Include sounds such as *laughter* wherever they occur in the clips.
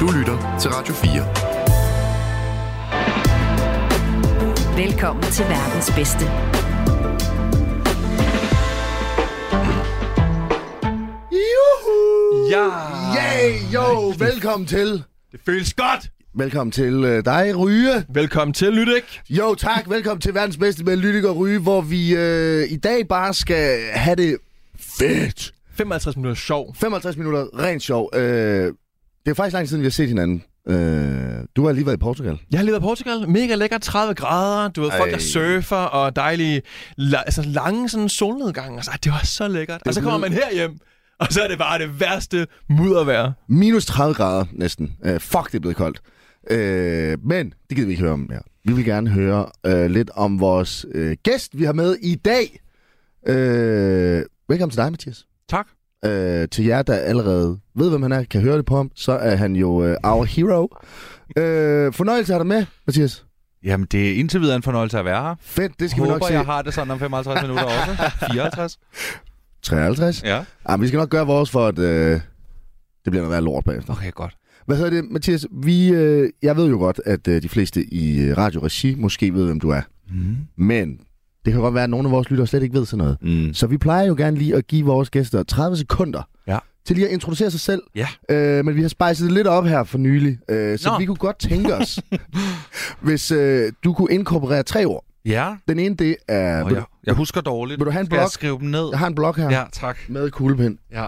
Du lytter til Radio Velkommen til verdens bedste. Ja! Yay, yo, velkommen til. Det føles godt! Velkommen til øh, dig, Ryge. Velkommen til, Lydik. Jo, tak. Velkommen til verdens bedste med Lydik og Ryge, hvor vi øh, i dag bare skal have det fedt. 55 minutter sjov. 55 minutter, rent sjov. Øh, det er faktisk lang tid siden, vi har set hinanden. Øh, du har lige været i Portugal. Jeg har levet i Portugal. Mega lækker, 30 grader. Du ved, folk, der Ej. surfer og dejlige, la, altså lange sådan solnedgange. Altså, ej, det var så lækkert. Og så kommer man herhjem, og så er det bare det værste muddervejr. Minus 30 grader næsten. Øh, fuck, det er blevet koldt. Øh, men det gider vi ikke høre om mere. Vi vil gerne høre øh, lidt om vores øh, gæst, vi har med i dag. Øh, velkommen til dig, Mathias. Tak. øh, til jer, der allerede ved, hvem han er, kan høre det på ham, så er han jo øh, our hero. Øh, fornøjelse har du med, Mathias. Jamen, det er indtil videre en fornøjelse at være her. Fedt, det skal Håber, vi nok se. jeg har det sådan om 55 minutter også. *laughs* 54? 53. Ja. Ja. Ah, men vi skal nok gøre vores for, at øh, det bliver noget værd lort bagefter. Okay, godt. Hvad hedder det, Mathias? Vi, øh, jeg ved jo godt, at øh, de fleste i øh, radioregi måske ved, hvem du er. Mm. Men det kan godt være, at nogle af vores lyttere slet ikke ved sådan noget. Mm. Så vi plejer jo gerne lige at give vores gæster 30 sekunder Ja. til lige at introducere sig selv. Ja. Øh, men vi har spejset lidt op her for nylig, øh, så Nå. Nå. vi kunne godt tænke *laughs* os, hvis øh, du kunne inkorporere tre ord. Ja. Den ene, det er... Og vil jeg, jeg husker dårligt. Vil du have en Skal jeg blok? skrive dem ned? du, jeg har en blog her ja. Ja, tak. med kuglepind. Ja.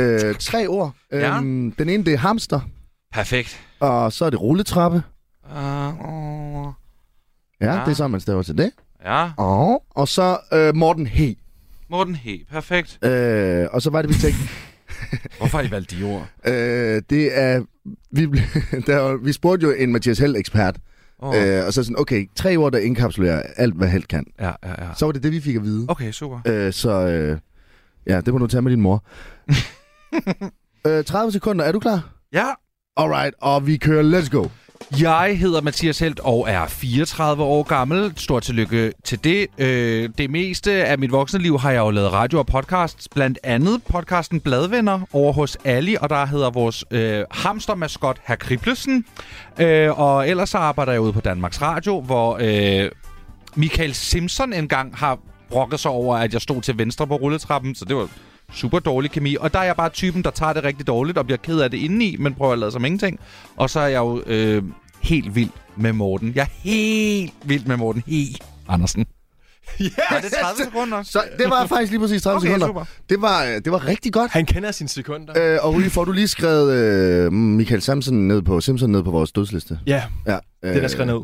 Øh, tre ord. Øh, Ja. Den ene, det er hamster, Perfekt. og så er det rulletrappe. Uh, uh, Ja, ja. Ja. det er sådan, man staver til det. ja. Og, og så øh, Morten He. Morten He. Perfekt. Øh, og så var det, vi *laughs* tænkte, Hvorfor har I valgt de ord? øh, det er... Vi, ble- *laughs* der, var- vi spurgte jo en Mathias Held-ekspert, Oh. Øh. Øh, og så sådan, okay, tre ord, der indkapsulerer alt, hvad helt kan. Ja, ja, ja. Så var det det, vi fik at vide. Okay, super. Øh, så øh, ja, det må du tage med din *laughs* mor. øh, 30 sekunder, er du klar? Ja. Alright, og vi kører, let's go. Jeg hedder Mathias Helt og er 34 år gammel. Stort tillykke til det. Øh, det meste af mit voksne liv har jeg jo lavet radio og podcasts. Blandt andet podcasten Bladvenner over hos Ali, og der hedder vores øh, hamstermaskot Herr Kriblesen. Øh, og ellers så arbejder jeg ude på Danmarks Radio, hvor øh, Michael Simpson engang har brokket sig over, at jeg stod til venstre på rulletrappen, så det var super dårlig kemi. Og der er jeg bare typen, der tager det rigtig dårligt og bliver ked af det indeni, men prøver at lade som ingenting. Og så er jeg jo øh, helt vild med Morten. Jeg er helt vild med Morten. He. Andersen. Ja, yes! det 30 sekunder. Så det var faktisk lige præcis 30 Okay, sekunder. super. Det var, øh, det var rigtig godt. Han kender sine sekunder. Øh, og Ryge, får du lige skrevet øh, Michael Samson ned på, Simpson ned på vores dødsliste? Ja, Ja, øh, det er der skrevet ned.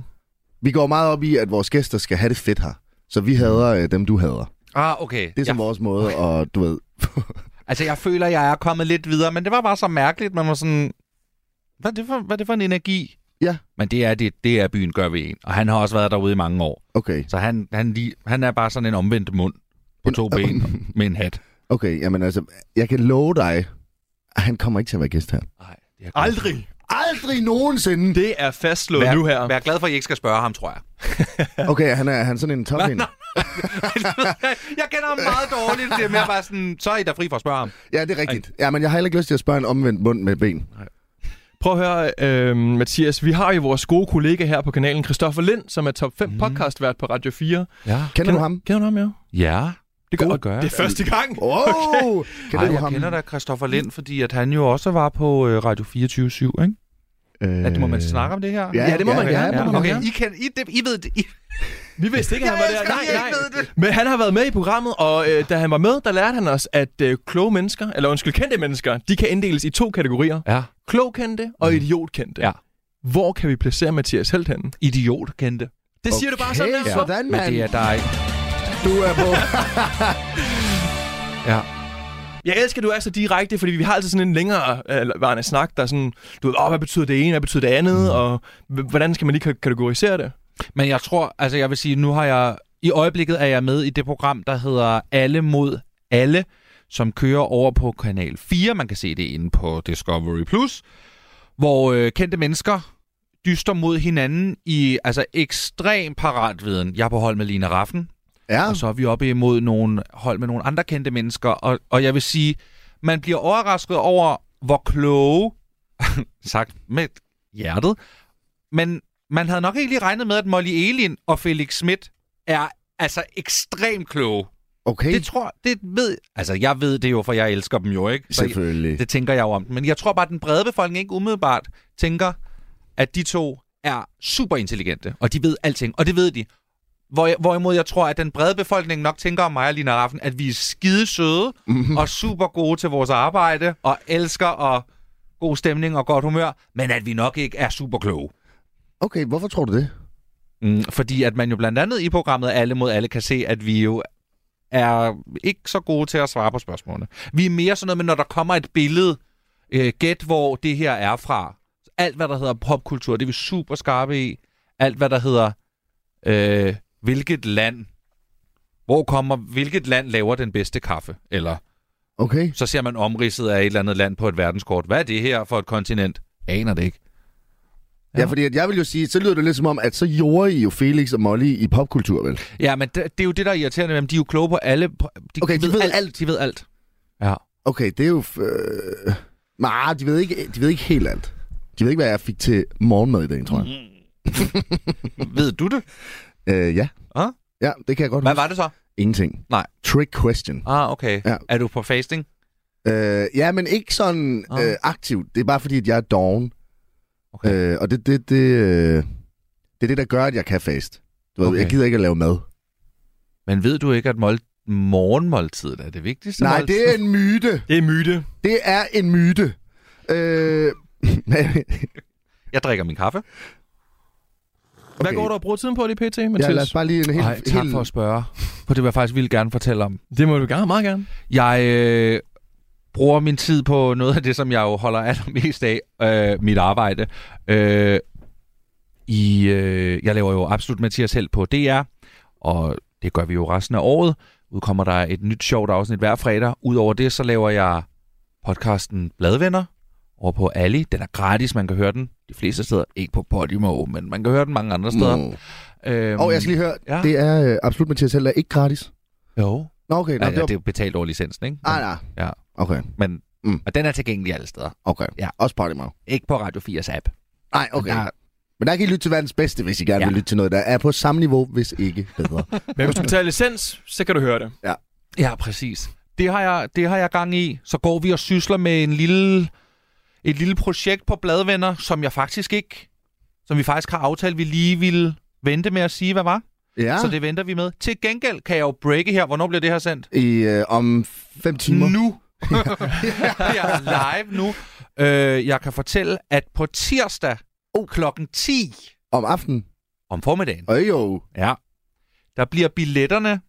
Vi går meget op i, at vores gæster skal have det fedt her. Så vi hader øh, dem, du hader. Ah, okay. Det er som ja. vores måde, og du ved... *laughs* Altså, jeg føler, jeg er kommet lidt videre, men det var bare så mærkeligt. Man var sådan... Hvad er det for, hvad er det for en energi? Ja. Men det er det, det er byen gør ved en. Og han har også været derude i mange år. Okay, Så han, han, lige, han er bare sådan en omvendt mund på to ben *laughs* med en hat. Okay, jamen altså, jeg kan love dig, at han kommer ikke til at være gæst her. Nej, det er godt. Aldrig. Aldrig nogensinde! Det er fastslået Vær, nu her. vær glad for, at I ikke skal spørge *laughs* ham, tror jeg. Okay, han er, han er sådan en top en. jeg kender ham meget dårligt. Det er mere bare sådan, så er I da fri for at spørge ham. Ja, det er rigtigt. Ja, men jeg har heller ikke lyst til at spørge en omvendt mund med ben. Prøv at høre, øh, Mathias. Vi har jo vores gode kollega her på kanalen, Christoffer Lind, som er top 5 mm. podcastvært på Radio 4. Ja. Kender du ham? Kender du ham, ja? Ja. Det gør, God og gør. Det er første gang. Wow! Okay. Kender Ej, du jeg ham? kender da Christoffer Lind, fordi at han jo også var på øh, Radio 24 ikke? Øh, At, må man snakke om det her? Ja, det må man gerne. det må man okay. gerne. I, kan, I, det, I ved det. I, Vi vidste ikke, at han var der. elsker, at I ikke ved det. Men han har været med i programmet, og øh, da han var med, der lærte han os, at øh, kloge mennesker, eller undskyld, kendte mennesker, de kan inddeles i to kategorier. Ja. Klogkendte Mm. og idiotkendte. Ja. Hvor kan vi placere Mathias Helt henne? Idiot kendte. Det siger du bare sådan der. Okay, sådan, Men mand. det er dig. Du er på... Ja. Jeg elsker, at du er så direkte, fordi vi har altid sådan en længere øh, varende snak, der er sådan, du ved, åh, hvad betyder det ene, hvad betyder det andet, Mm. og h- hvordan skal man lige ka- kategorisere det? Men jeg tror, altså jeg vil sige, nu har jeg, i øjeblikket er jeg med i det program, der hedder Alle mod Alle, som kører over på kanal 4. Man kan se det inde på Discovery+, Plus, hvor øh, kendte mennesker dyster mod hinanden i altså ekstrem paratviden. Jeg er på hold med Lina Raffen, *laughs* Ja, og så er vi oppe imod nogle hold med nogle andre kendte mennesker. Og, og jeg vil sige, man bliver overrasket over, hvor kloge *laughs* sagt med hjertet. Men man havde nok ikke lige regnet med, at Molly Elin og Felix Schmidt er altså ekstremt kloge. Okay, Det tror det ved... Altså, jeg ved det jo, for jeg elsker dem jo, ikke? Så selvfølgelig. det tænker jeg jo om. Men jeg tror bare, at den brede befolkning ikke umiddelbart tænker, at de to er super intelligente, og de ved alting, og det ved de. Hvor, hvorimod jeg tror, at den brede befolkning nok tænker om mig og Lina Raffen, at vi er skide søde mm-hmm. og super gode til vores arbejde, og elsker og god stemning og godt humør, men at vi nok ikke er super kloge. Okay, hvorfor tror du det? Mm, fordi at man jo blandt andet i programmet Alle mod Alle kan se, at vi jo er ikke så gode til at svare på spørgsmålene. Vi er mere sådan noget med, når der kommer et billede, øh, gæt hvor det her er fra. Alt hvad der hedder popkultur, det er vi super skarpe i. Alt hvad der hedder, øh, hvilket land, hvor kommer, hvilket land laver den bedste kaffe? Eller Okay. så ser man omridset af et eller andet land på et verdenskort. Hvad er det her for et kontinent? Aner det ikke. Ja, ja fordi at jeg vil jo sige, så lyder det lidt som om, at så gjorde I jo Felix og Molly i popkultur, vel? Ja, men det, det er jo det, der er irriterende med dem. De er jo kloge på alle... på- De, Okay, de ved, alt. De ved alt. Ja. Okay, det er jo... f- Øh... Nej, de ved, ikke, de ved ikke helt alt. De ved ikke, hvad jeg fik til morgenmad i dag, tror *laughs* jeg. Mm. ved du det? Mm. Øh, ja. Ah? Ja, det kan jeg godt Hvad huske. var det så? Ingenting. Nej. Trick question. Ah, okay. Ja. Ja. Er du på fasting? Øh, ja, men ikke sådan Ah. øh, aktivt. Det er bare fordi, at jeg er doven. Okay. Øh, og det, det, det, øh, det er det, der gør, at jeg kan fast. Du ved, Okay. Jeg gider ikke at lave mad. Men ved du ikke, at mål- morgenmåltiden er det vigtigste Nej, måltid? det er en myte. Det er myte. Det er en myte. Øh, *laughs* men- Jeg drikker min kaffe. Hvad Okay. går du og bruger tiden på lige pt, ja, lad Mathias? os bare lige en helt... Ej, tak helt... for at spørge. For det vil jeg faktisk vildt gerne fortælle om. det må du gerne, meget *laughs* gerne. Jeg øh, bruger min tid på noget af det, som jeg jo holder allermest af, øh, mit arbejde. Øh, i, øh, jeg laver jo Absolut Mathias Held på DR, og det gør vi jo resten af året. Udkommer der et nyt sjovt afsnit hver fredag. Udover det, så laver jeg podcasten Bladvenner over på Ali. Den er gratis, man kan høre den de fleste steder. Ikke på Podimo, men man kan høre den mange andre steder. Nå. Øhm, Og Mm. jeg skal lige høre, ja. Ja. det er øh, absolut Mathias Held er ikke gratis. Jo. Nå, okay. Nå, Øhm, Ja, ja, det er var... jo betalt over licensen, ikke? Ah, nej. Ja. Okay, Men, Mm. mm. Og den er tilgængelig alle steder. okay. Ja. Ja. Også Party Mouth. Ikke på Radio 4's app. Nej, okay. Der- Men der kan I lytte til verdens bedste, hvis I gerne ja. Ja. vil lytte til noget, der er på samme niveau, hvis ikke bedre. Men hvis du betaler licens, så kan du høre det. Ja, præcis. Det har, jeg, det har jeg gang i. Så går vi og sysler med en lille, et lille projekt på Bladvenner, som jeg faktisk ikke... Som vi faktisk har aftalt, vi lige ville vente med at sige, hvad var. ja, *laughs* Ja. Så det venter vi med. Til gengæld kan jeg jo breake her. Hvornår bliver det her sendt? i øh, om fem timer. Nu. *laughs* jeg er live nu. Øh, jeg kan fortælle, at på tirsdag oh. klokken 10 Om aftenen. om formiddagen, Og jo. ja. der bliver billetterne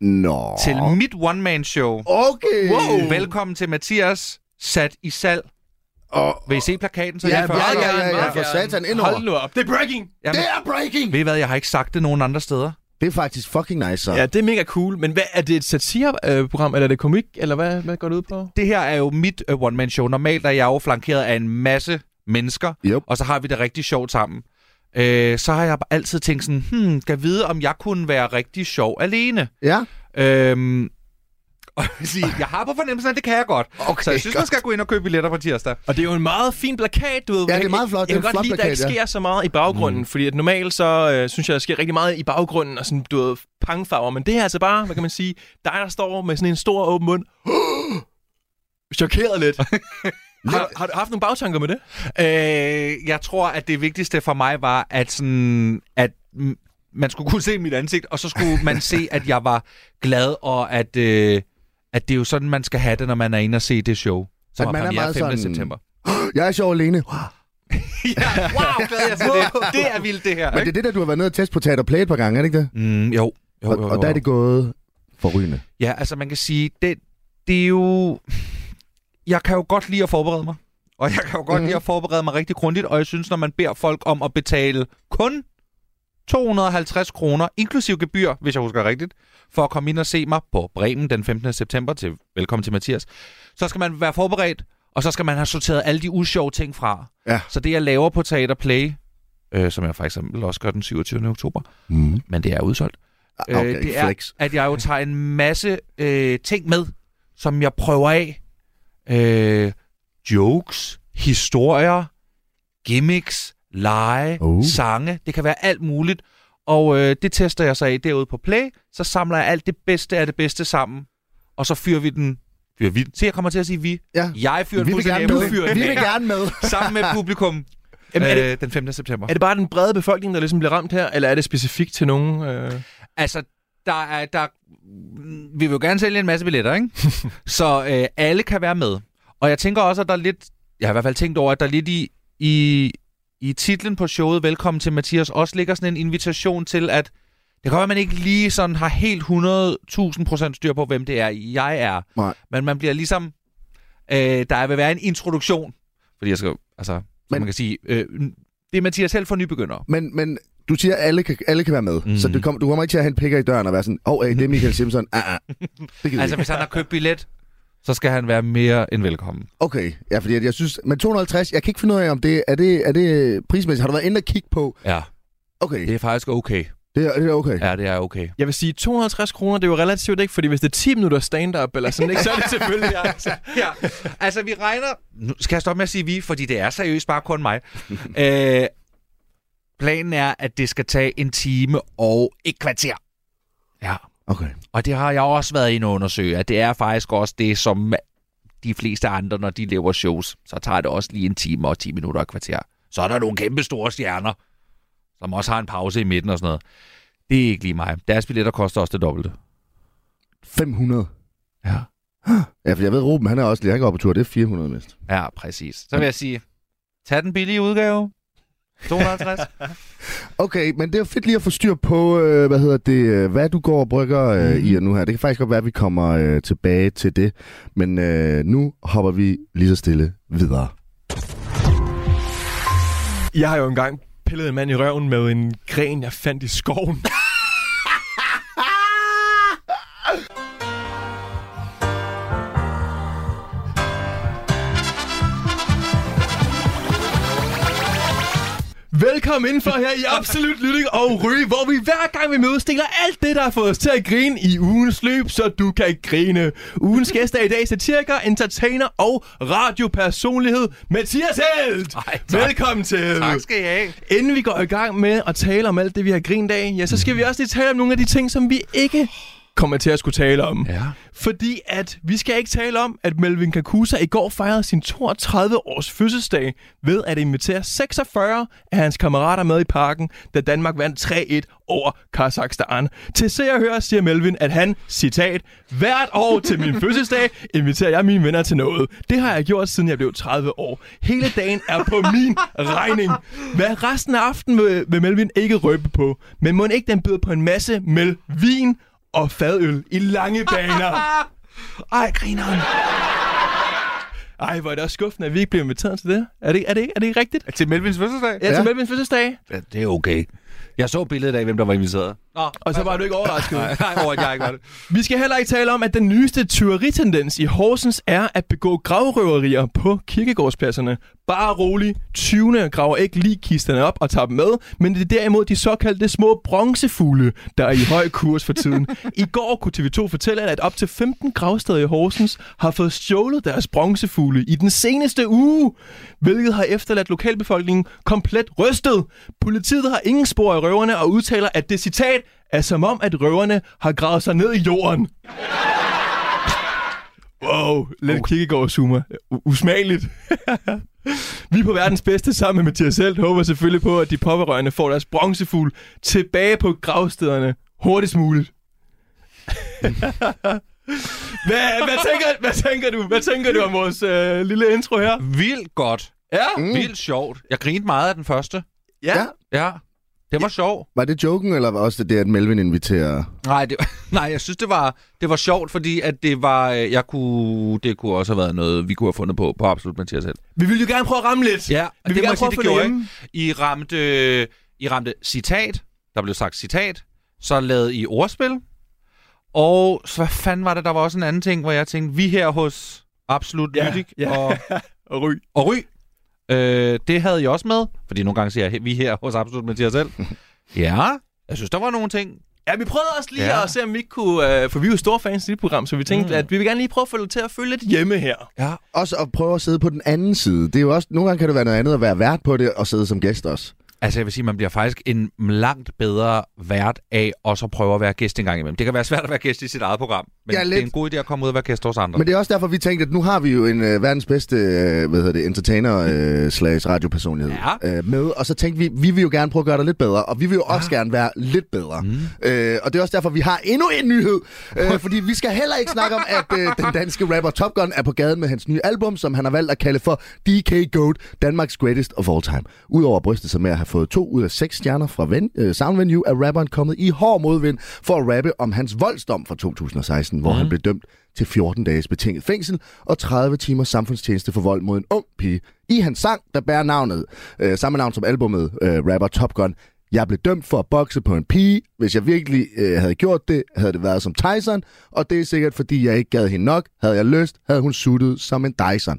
Nå. til mit one-man-show. Okay. Wow. Øh, Velkommen til Mathias, sat i salg. Og, Vil I se plakaten? Så ja, jeg ja, får- ja, ja, ja, ja, meget for gerne. satan Hold indover. nu op. Det er breaking! Jamen, Det er breaking! Ved I hvad, jeg har ikke sagt det nogen andre steder. Det er faktisk fucking nice, så. Ja, det er mega cool. Men hvad, er det et satireprogram, eller er det komik, eller hvad, hvad går det ud på? Det her er jo mit uh, one-man-show. Normalt er jeg jo flankeret af en masse mennesker, Yep. og så har vi det rigtig sjovt sammen. Øh, så har jeg bare altid tænkt sådan, hmm, kan vide, om jeg kunne være rigtig sjov alene. Ja, Øhm, *laughs* og jeg vil sige, jeg har på fornemmelsen, at det kan jeg godt. Okay, så jeg synes, man skal gå ind og købe billetter på tirsdag. Og det er jo en meget fin plakat, du ved. Ja, det er meget Jeg, flot. Det er jeg en kan flot godt lide, at der ikke plakat, sker så meget i baggrunden, mm. fordi at normalt så øh, synes jeg, der sker rigtig meget i baggrunden, og sådan, du ved, pangfarver. Men det er altså bare, hvad kan man sige, dig, der står med sådan en stor åben mund. *gasps* Chokeret *laughs* lidt. har, har du haft nogle bagtanker med det? Øh, jeg tror, at det vigtigste for mig var, at, sådan, at mm, man skulle kunne se mit ansigt, og så skulle man se, at jeg var glad, og at, øh, at det er jo sådan, man skal have det, når man er inde og se det show. Som At har man er premiere meget 5. sådan- *laughs* september. jeg er sjov alene. ja, wow, glad jeg til det. Det er vildt, det her. Men det er det, der du har været nede og teste på Teater Play et par gange, er det ikke det? Mm, jo. Jo, Og, jo, jo. og der er det gået forrygende. Ja, altså man kan sige, det, det er jo... Jeg kan jo godt lide at forberede mig. Og jeg kan jo godt Mhm. mm. lide at forberede mig rigtig grundigt, og jeg synes, når man beder folk om at betale kun 250 kroner, inklusiv gebyr, hvis jeg husker rigtigt, for at komme ind og se mig på Bremen den 15. september til Velkommen til Mathias, så skal man være forberedt, og så skal man have sorteret alle de usjove ting fra. Ja. Så det, jeg laver på Teater Play, øh, som jeg for eksempel også gør den 27. oktober, Mm. Ah, men det er udsolgt, Øh, Okay, det er, flex. at jeg jo tager en masse øh, ting med, som jeg prøver af. Øh, jokes, historier, gimmicks, lege, Uh. uh. sange. Det kan være alt muligt. Og øh, det tester jeg så af derude på Play. Så samler jeg alt det bedste af det bedste sammen. Og så fyrer vi den. Fyrer vi den. Se, jeg kommer til at sige vi. Ja. Jeg fyrer Vi den vil gerne fuldstændig med. af, du fyrer den Vi vil af. gerne med. Sammen med publikum. Jamen, er øh, den 5. september. Er det bare den brede befolkning, der ligesom bliver ramt her, eller er det specifikt til nogen? Øh... Altså, der er, der, vi vil jo gerne sælge en masse *laughs* billetter, ikke? så øh, alle kan være med. Og jeg tænker også, at der er lidt... Jeg har i hvert fald tænkt over, at der lidt i, i, i titlen på showet, Velkommen til Mathias, også ligger sådan en invitation til, at det kan godt være, at man ikke lige sådan har helt 100.000 procent styr på, hvem det er, jeg er. Nej. Men man bliver ligesom... Øh, der vil være en introduktion. Fordi jeg skal... Altså, Men... Men- man kan sige... Øh, det er Mathias selv for nybegyndere. Men, men du siger, at alle kan, alle kan være med. Mm. Mm. Så du, kom, du kommer ikke til at hente pikker i døren og være sådan, åh, oh, hey, det er Michael Simpson. Ah, ah. Det gider Altså, altså, hvis han har købt billet, så skal han være mere end velkommen. Okay, ja, fordi at jeg synes, men 250, jeg kan ikke finde ud af, om det er det, er det prismæssigt. Har du været inde og kigge på? Ja, Okay, det er faktisk okay. det er, det er okay. Ja. Ja, det er *laughs* okay. Jeg vil sige, 250 kroner, det er jo relativt ikke, fordi hvis det er 10 minutter stand-up eller sådan, ikke, så er det selvfølgelig... Altså. Ja, altså vi regner... Nu skal jeg stoppe med at sige vi, fordi det er seriøst bare kun *laughs* mig. øh, planen er, at det skal tage en time og et kvarter. Ja, Okay. og det har jeg også været inde og undersøge, at det er faktisk også det, som de fleste andre, når de laver shows, så tager det også lige en time og 10 minutter og et kvarter. Så er der nogle kæmpe store stjerner, som også har en pause i midten og sådan noget. Det er ikke lige mig. Deres billetter koster også det dobbelte. 500. Ja. Ja, for jeg ved, Ruben, han er også lige, han går på tur, det er 400 mest. Ja, præcis. Så vil jeg sige, tag den billige udgave. *laughs* 250. Okay, men det er jo fedt lige at få styr på, øh, hvad hedder det, øh, hvad du går og brygger øh, i nu her. Det kan faktisk godt være, at vi kommer øh, tilbage til det, men øh, nu hopper vi lige så stille videre. Jeg har jo engang pillet en mand i røven med en gren, jeg fandt i skoven. Velkommen indenfor her i Absolut Lytting og Ryge, hvor vi hver gang vi mødes deler alt det, der har fået os til at grine i ugens løb, så du kan grine. Ugens gæster i dag satiriker, entertainer og radiopersonlighed Mathias Helt. Ej, tak. Velkommen til. tak skal I have. Inden vi går i gang med at tale om alt det, vi har grint af, ja, så skal vi også lige tale om nogle af de ting, som vi ikke kommer til at skulle tale om. Ja. Fordi at vi skal ikke tale om, at Melvin Kakusa i går fejrede sin 32-års fødselsdag ved at invitere 46 af hans kammerater med i parken, da Danmark vandt 3-1 over Kazakhstan. Til se og høre siger Melvin, at han, citat, hvert år til min fødselsdag inviterer jeg mine venner til noget. Det har jeg gjort, siden jeg blev 30 år. Hele dagen er på min regning. Hvad resten af aftenen vil, vil Melvin ikke røbe på, men må ikke den byder på en masse Melvin og fadøl i lange baner. Ej, grineren. Ej, hvor er det også skuffende, at vi ikke bliver inviteret til det. Er det, er det, ikke- er det ikke rigtigt? Altså, Til Melvins fødselsdag? Ja, Ja. til Melvins fødselsdag. Ja, det er okay. Jeg så billedet af, hvem der var inviteret. Nå, Og så var du ikke overrasket. nej, over, at jeg ikke var det. Vi skal heller ikke tale om, at den nyeste tyveritendens i Horsens er at begå gravrøverier på kirkegårdspladserne. Bare rolig, tyvene graver ikke ligkisterne op og tager dem med, men det er derimod de såkaldte små bronzefugle, der er i høj kurs for tiden. I går kunne TV2 fortælle, at op til 15 gravsteder i Horsens har fået stjålet deres bronzefugle i den seneste uge, hvilket har efterladt lokalbefolkningen komplet rystet. Politiet har ingen spor af røverne og udtaler, at det citat er som om, at røverne har gravet sig ned i jorden. Wow, lidt okay. kirkegårdsumer. U- usmageligt. *laughs* Vi er på verdens bedste sammen med Mathias selv håber selvfølgelig på, at de pårørende får deres bronzefugl tilbage på gravstederne hurtigst muligt. *laughs* hvad, hvad, tænker, hvad, tænker du, hvad tænker du om vores øh, lille intro her? Vildt godt. Ja, Mm. Vildt sjovt. Jeg grinede meget af den første. ja. Ja. Ja, det var sjovt. Var det joken, eller var også det, det, at Melvin inviterer? Nej, det, *laughs* nej, jeg synes, det var, det var sjovt, fordi at det var, øh, jeg kunne, det kunne også have været noget, vi kunne have fundet på, på Absolut Mathias selv. Vi vil jo gerne prøve at ramme lidt. Ja, vi vil det gerne må jeg prøve at sige, det få det gjorde hjemme. I ramte, øh, I ramte citat. Der blev sagt citat. Så lavede I ordspil. Og så hvad fanden var det? Der var også en anden ting, hvor jeg tænkte, vi her hos Absolut Ja, ja, Lydik ja. ja. og, Og ry. og Ry, øh, det *laughs* havde I også med. Fordi nogle gange siger jeg, vi her hos Absolut Mathias selv. ja, jeg synes, der var nogle ting, Ja, vi prøvede også lige Ja. ja. at se, om vi ikke kunne... Øh, for vi er jo store fans i dit program, så vi tænkte, Mm. mm. at vi vil gerne lige prøve at få det til at føle lidt hjemme her. Ja. Også at prøve at sidde på den anden side. Det er jo også, nogle gange kan det være noget andet at være vært på det og sidde som gæst også. Altså jeg vil sige, man bliver faktisk en langt bedre vært af også at prøve at være gæst en gang imellem. Det kan være svært at være gæst i sit eget program, men Ja, ja, det er lidt. en god idé at komme ud og være gæst hos andre. Men det er også derfor, vi tænkte, at nu har vi jo en øh, verdens bedste øh, hvad hedder det, entertainer øh, slash radiopersonlighed Ja. øh, med. Og så tænkte vi, vi vil jo gerne prøve at gøre dig lidt bedre, og vi vil jo også gerne være lidt bedre. Mm. Øh, og det er også derfor, vi har endnu en nyhed. Øh, *laughs* fordi vi skal heller ikke snakke om, at øh, den danske rapper Top Gun er på gaden med hans nye album, som han har valgt at kalde for DK Goat, Danmarks Greatest of All Time. Udover at bryste sig med at have fået to ud af seks stjerner fra ven, øh, Sound Venue, er rapperen kommet i hård modvind for at rappe om hans voldsdom fra 2016, hvor mm. han blev dømt til 14 dages betinget fængsel og 30 timers samfundstjeneste for vold mod en ung pige. I hans sang, der bærer navnet, øh, samme navn som albumet, øh, rapper Top Gun, jeg blev dømt for at bokse på en pige. Hvis jeg virkelig øh, havde gjort det, havde det været som Tyson, og det er sikkert, fordi jeg ikke gad hende nok. Havde jeg lyst, havde hun suttet som en Dyson.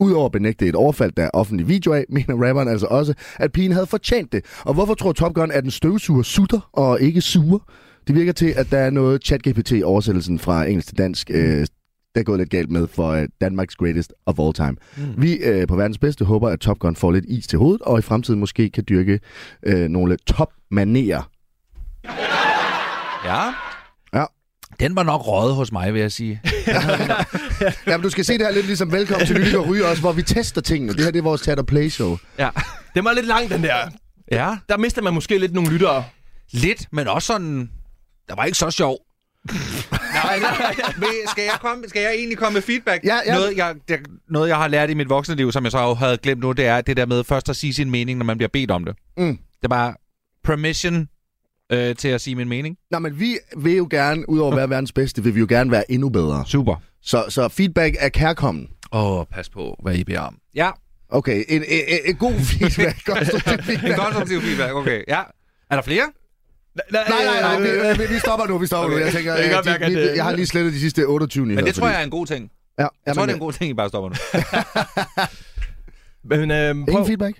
Udover at benægte et overfald, der er offentlig video af, mener rapperen altså også, at pigen havde fortjent det. Og hvorfor tror Top Gun, at en støvsuger sutter og ikke suger? Det virker til, at der er noget chat-GPT-oversættelsen fra engelsk til dansk, øh, der er gået lidt galt med for øh, Danmarks greatest of all time. Mm. Vi øh, på verdens bedste håber, at Top Gun får lidt is til hovedet, og i fremtiden måske kan dyrke øh, nogle topmanerer. Ja. Ja. Den var nok røget hos mig, vil jeg sige. Ja, men du skal se det her lidt ligesom velkommen til Lydik og Ryge også, hvor vi tester tingene. Det her det er vores Tat og Play Show. Ja. Den var lidt lang, den der. ja. Der mister man måske lidt nogle lyttere. Lidt, men også sådan... Der var ikke så sjov. *laughs* nej, nej. Men skal, jeg komme, skal jeg egentlig komme med feedback? Ja, ja. Noget, jeg, der, noget, jeg har lært i mit voksne liv, som jeg så jo havde glemt nu, det er det der med først at sige sin mening, når man bliver bedt om det. Mm. Det var permission øh, til at sige min mening. Nå, men vi vil jo gerne, udover at være verdens bedste, vil vi jo gerne være endnu bedre. Super. Så, så feedback er kærkommen. Åh, oh, pas på, hvad I beder om. Ja, Okay, en, en, en, en *laughs* god feedback. konstruktiv en feedback. konstruktiv feedback, okay. Ja. Er der flere? Nej, Nej, nej, nej, vi, vi- vi stopper nu, vi stopper okay. nu. Jeg tænker, Jeg kan jeg, godt mærke, de, at vi, det- jeg har lige slettet de sidste 28 nyheder. Men det tror fordi- jeg er en god ting. Jeg Ja, tror, jamen, det er en god ting, I *laughs* bare stopper nu. Men øh, prøv. Ingen feedback?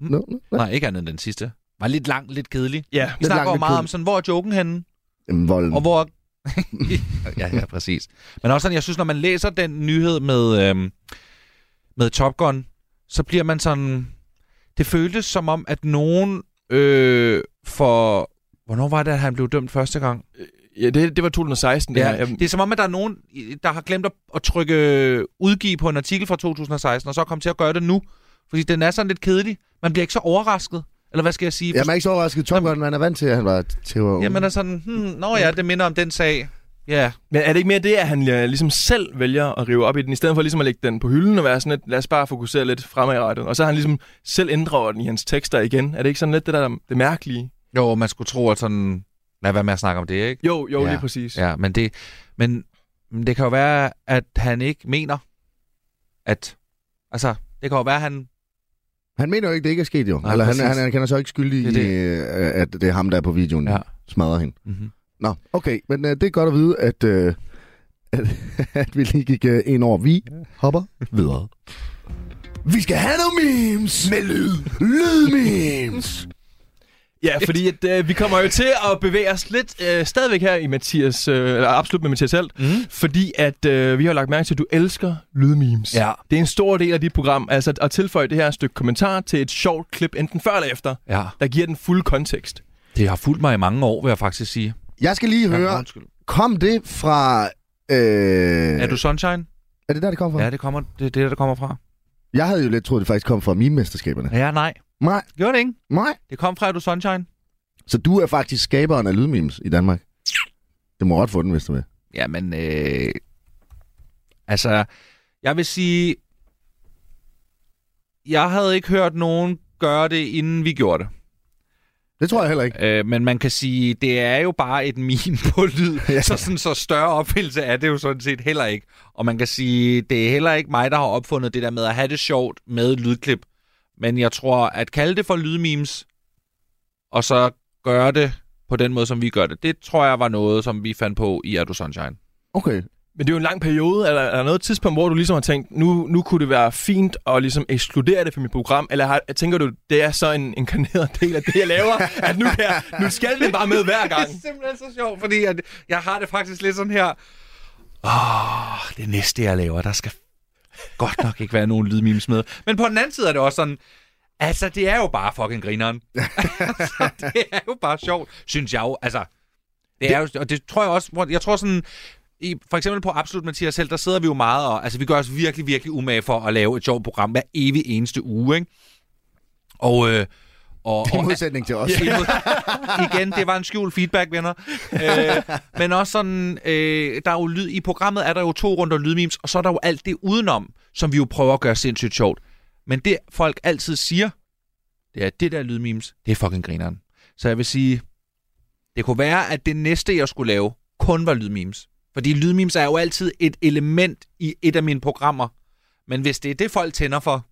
Mm. No, no, no. Nej, ikke andet end den sidste. Var lidt lang, lidt kedelig. Ja, Vi snakker lang, jo lidt meget om kedelig. sådan, hvor er joken henne? Jamen, volden. Og hvor... *laughs* ja, ja, præcis. Men også sådan, jeg synes, når man læser den nyhed med, øhm, med Top Gun, så bliver man sådan... Det føltes som om, at nogen øh, for... Hvornår var det, at han blev dømt første gang? ja det, det var 2016, det Ja, her. Jeg, det er som om, at der er nogen, der har glemt at, at trykke øh, udgive på en artikel fra 2016, og så kom til at gøre det nu. Fordi den er sådan lidt kedelig. Man bliver ikke så overrasket. Eller hvad skal jeg sige? Jamen, jeg er ikke så overrasket. Tom Gunn, man er vant til, at han var til at... Ja, man er sådan, hmm, nå ja, det minder om den sag. Ja, Men er det ikke mere det, at han øh, ligesom selv vælger at rive op i den, i stedet for ligesom at lægge den på hylden og være sådan lidt, lad os bare fokusere lidt fremadrettet. Og så har han ligesom selv ændret den i hans tekster igen. Er det ikke sådan lidt det der, der det mærkelige? jo, man skulle tro, at sådan, lad være med at snakke om det, ikke? Jo, jo, Ja. ja. lige præcis. Ja, men det, men men det kan jo være, at han ikke mener, at, altså, det kan jo være, at han, Han mener jo ikke, det ikke er sket, jo. Nej, Nej, Eller han, præcis. han, han kender så ikke skyldig Det er i, øh, at det er ham, der er på videoen, Ja. ja. smadrer hende. mm-hmm. Nå, okay. Men øh, det er godt at vide, at, øh, at, *laughs* at vi lige gik øh, ind over. Vi hopper videre. Vi skal have nogle memes! Med lyd! Lyd-memes! Ja, fordi at, øh, vi kommer jo til at bevæge os lidt øh, stadigvæk her i Mathias, øh, eller absolut med Mathias Alt, Mm. fordi at øh, vi har jo lagt mærke til, at du elsker lydmemes. Ja. Det er en stor del af dit program, altså at- at tilføje det her stykke kommentar til et sjovt klip, enten før eller efter, ja, der giver den fulde kontekst. det har fulgt mig i mange år, vil jeg faktisk sige. Jeg skal lige Ja, høre, undskyld. kom det fra... Øh, Er du Sunshine? er det der, det kom fra? Ja, det kommer, det, er det, der kommer fra. Jeg havde jo lidt troet, det faktisk kom fra meme-mesterskaberne. Ja, nej. Nej, Gjorde det ikke? nej. Det kom fra, er du Sunshine? Så du er faktisk skaberen af lydmemes i Danmark. Det må jeg godt få den, hvis du vil. Jamen, øh, altså, jeg vil sige, jeg havde ikke hørt nogen gøre det, inden vi gjorde det. Det tror jeg heller ikke. Øh, men man kan sige, det er jo bare et meme på lyd, ja. så sådan så større opfindelse er det jo sådan set heller ikke. Og man kan sige, det er heller ikke mig, der har opfundet det der med at have det sjovt med lydklip. Men jeg tror, at kalde det for lydmemes, og så gøre det på den måde, som vi gør det, det tror jeg var noget, som vi fandt på i Er Du Sunshine. Okay. Men det er jo en lang periode. Er der, er der noget tidspunkt, hvor du ligesom har tænkt, nu, nu kunne det være fint at ligesom ekskludere det fra mit program? Eller har, tænker du, det er så en inkarneret *laughs* del af det, jeg laver, at nu, kan jeg, nu skal det bare med hver gang? *laughs* Det er simpelthen så sjovt, fordi jeg, jeg har det faktisk lidt sådan her. Åh, det næste, jeg laver, der skal godt nok ikke være nogen lydmemes med. Men på den anden side er det også sådan, altså, det er jo bare fucking *laughs* grineren. altså, det er jo bare sjovt, synes jeg jo. Altså, det er jo, og det tror jeg også, hvor- jeg tror sådan, i, for eksempel på Absolut Mathias selv, der sidder vi jo meget og, altså vi gør os virkelig, virkelig umage for at lave et sjovt program hver evig eneste uge, ikke? Og, øh, og, I og, modsætning til os. også. *laughs* Igen, det var en skjult feedback, venner. Øh, men også sådan, øh, der er jo lyd, i programmet er der jo to runder lydmemes, og så er der jo alt det udenom, som vi jo prøver at gøre sindssygt sjovt. Men det folk altid siger, det er, det der lydmemes, det er fucking grineren. Så jeg vil sige, det kunne være, at det næste, jeg skulle lave, kun var lydmemes. Fordi lydmemes er jo altid et element i et af mine programmer. Men hvis det er det, folk tænder for,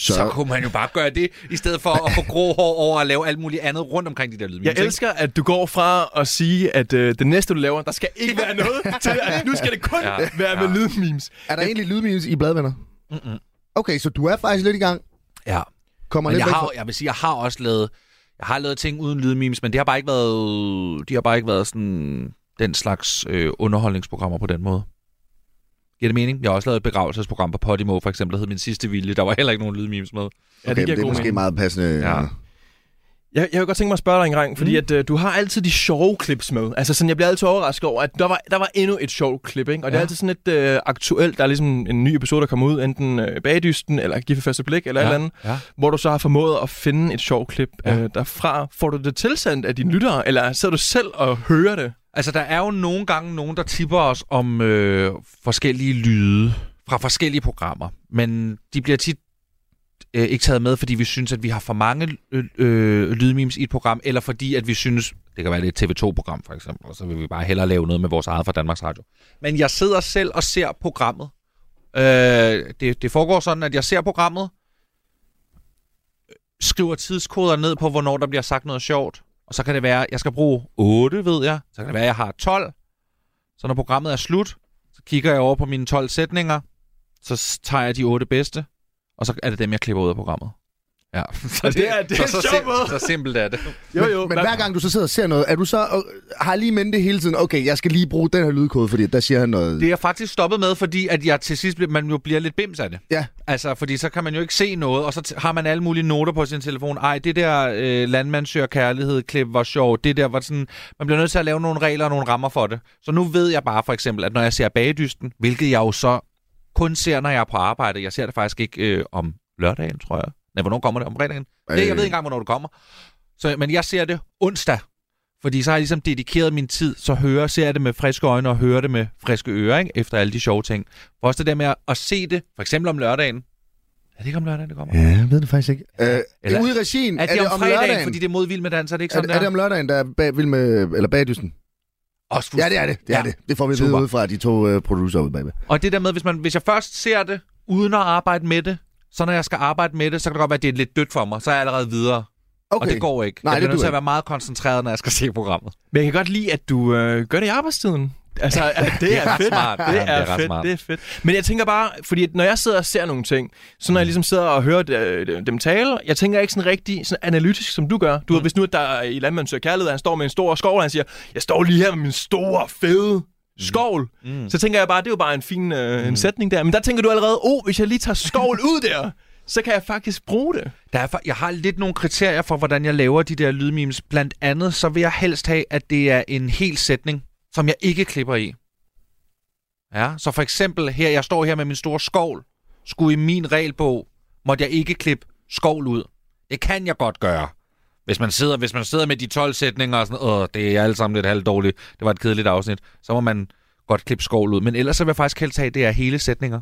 så, så kunne man jo bare gøre det, i stedet for *laughs* at få grå hår over og lave alt muligt andet rundt omkring de der lydmemes. Jeg ikke? elsker, at du går fra at sige, at øh, det næste, du laver, der skal ikke være noget, til at nu skal det kun *laughs* Ja, ja, være med ja. lydmemes. Er der egentlig lydmemes i bladvenner? Mm-mm. Okay, så du er faktisk lidt i gang. Ja. Kommer Men lidt jeg, væk har, fra... jo- jeg vil sige, jeg har også lavet, jeg har lavet ting uden lydmemes, men det har bare ikke været, de har bare ikke været sådan den slags øh, underholdningsprogrammer på den måde. Giver det mening? Jeg har også lavet et begravelsesprogram på Podimo, for eksempel, der hed Min Sidste Vilje. Der var heller ikke nogen lydmemes med. Ja, Okay, det det, giver det er god måske mening. meget passende. øh. Ja. Jeg, jeg vil godt tænke mig at spørge dig en gang, fordi Mm. mm. at, øh, du har altid de sjove clips med. Altså sådan, jeg bliver altid overrasket over, at der var, der var endnu et sjovt klip, ikke? Og ja. det Ja. er altid sådan lidt øh, aktuelt. Der er ligesom en ny episode, der kommer ud, enten øh, Bagdysten, eller Gift ved første blik, eller ja. et eller andet, ja. hvor du så har formået at finde et sjovt klip Ja. ja. øh, derfra. Får du det tilsendt af dine lyttere, eller sidder du selv og hører det? Altså, der er jo nogle gange nogen, der tipper os om øh, forskellige lyde fra forskellige programmer, men de bliver tit øh, ikke taget med, fordi vi synes, at vi har for mange øh, øh, lydmemes i et program, eller fordi, at vi synes, det kan være det er et TV2-program for eksempel, og så vil vi bare hellere lave noget med vores eget fra Danmarks Radio. Men jeg sidder selv og ser programmet. Øh, det, det foregår sådan, at jeg ser programmet, skriver tidskoder ned på, hvornår der bliver sagt noget sjovt, og så kan det være, at jeg skal bruge 8, ved jeg. Så kan det være, at jeg har 12. Så når programmet er slut, så kigger jeg over på mine 12 sætninger. Så s- tager jeg de 8 bedste, og så er det dem, jeg klipper ud af programmet. Ja, *laughs* så det er- det er en sjov måde. så simpelt er det. Jo, jo. Men hver gang du så sidder og ser noget, er du så og, har lige mente hele tiden, okay, jeg skal lige bruge den her lydkode, fordi der siger han noget. Det er jeg faktisk stoppet med, fordi at jeg til sidst bliver, man jo bliver lidt bims af det. Ja. Altså, fordi så kan man jo ikke se noget, og så t- har man alle mulige noter på sin telefon. Ej, det der øh, landmand søger kærlighed-klip var sjovt. Det der var sådan... Man bliver nødt til at lave nogle regler og nogle rammer for det. Så nu ved jeg bare for eksempel, at når jeg ser bagdysten, hvilket jeg jo så kun ser, når jeg er på arbejde. Jeg ser det faktisk ikke øh, om lørdagen, tror jeg. Nej, hvornår kommer det? Om fredagen? Øh. Det, jeg ved ikke engang, hvornår det kommer. Så, men jeg ser det onsdag, fordi så har jeg ligesom dedikeret min tid, så hører, ser jeg det med friske øjne og hører det med friske ører, ikke? efter alle de sjove ting. For også det der med at, at se det, for eksempel om lørdagen. Er det ikke om lørdagen, det kommer? Ja, jeg ved det faktisk ikke. Øh, Eller- Eller... Ude i regien, Er det, det om fredagen, lørdagen? fordi det er mod vild med dans, er det ikke Er, sådan er det der? om lørdagen, der er bag, vild med, eller bagdysten? Også Ja, det er det. Det, er Ja. det. det får vi at Super. vide ud fra de to uh, producer ude bagved. Og det der med, hvis, man, hvis jeg først ser det, uden at arbejde med det, så når jeg skal arbejde med det, så kan det godt være, at det er lidt dødt for mig. Så er jeg allerede videre, okay. og det går ikke. Nej, jeg det bliver nødt dur til at ikke. være meget koncentreret, når jeg skal se programmet. Men jeg kan godt lide, at du øh, gør det i arbejdstiden. Altså, *laughs* at det er ret fedt. smart. Det Ja, det er er ret smart. fedt, det er fedt. Men jeg tænker bare, fordi at når jeg sidder og ser nogle ting, så Mm. når jeg ligesom sidder og hører øh, dem tale, jeg tænker ikke sådan rigtig sådan analytisk, som du gør. Du Mm. ved, hvis nu at der er i Landmand Søger Kærlighed, og han står med en stor skov, og han siger, jeg står lige her med min store, fede skovl. Mm. Så tænker jeg bare, det er jo bare en fin øh, en sætning der. Men der tænker du allerede, oh, hvis jeg lige tager skovl ud der, så kan jeg faktisk bruge det. Der er, fa- jeg har lidt nogle kriterier for, hvordan jeg laver de der lydmemes. Blandt andet, så vil jeg helst have, at det er en hel sætning, som jeg ikke klipper i. Ja, så for eksempel her, jeg står her med min store skovl. Skulle i min regelbog, måtte jeg ikke klippe skovl ud. Det kan jeg godt gøre. Hvis man sidder, hvis man sidder med de 12 sætninger og sådan, åh, det er alle sammen lidt halvt dårligt, det var et kedeligt afsnit, så må man godt klippe skovl ud. Men ellers så vil jeg faktisk helst have, at det er hele sætninger.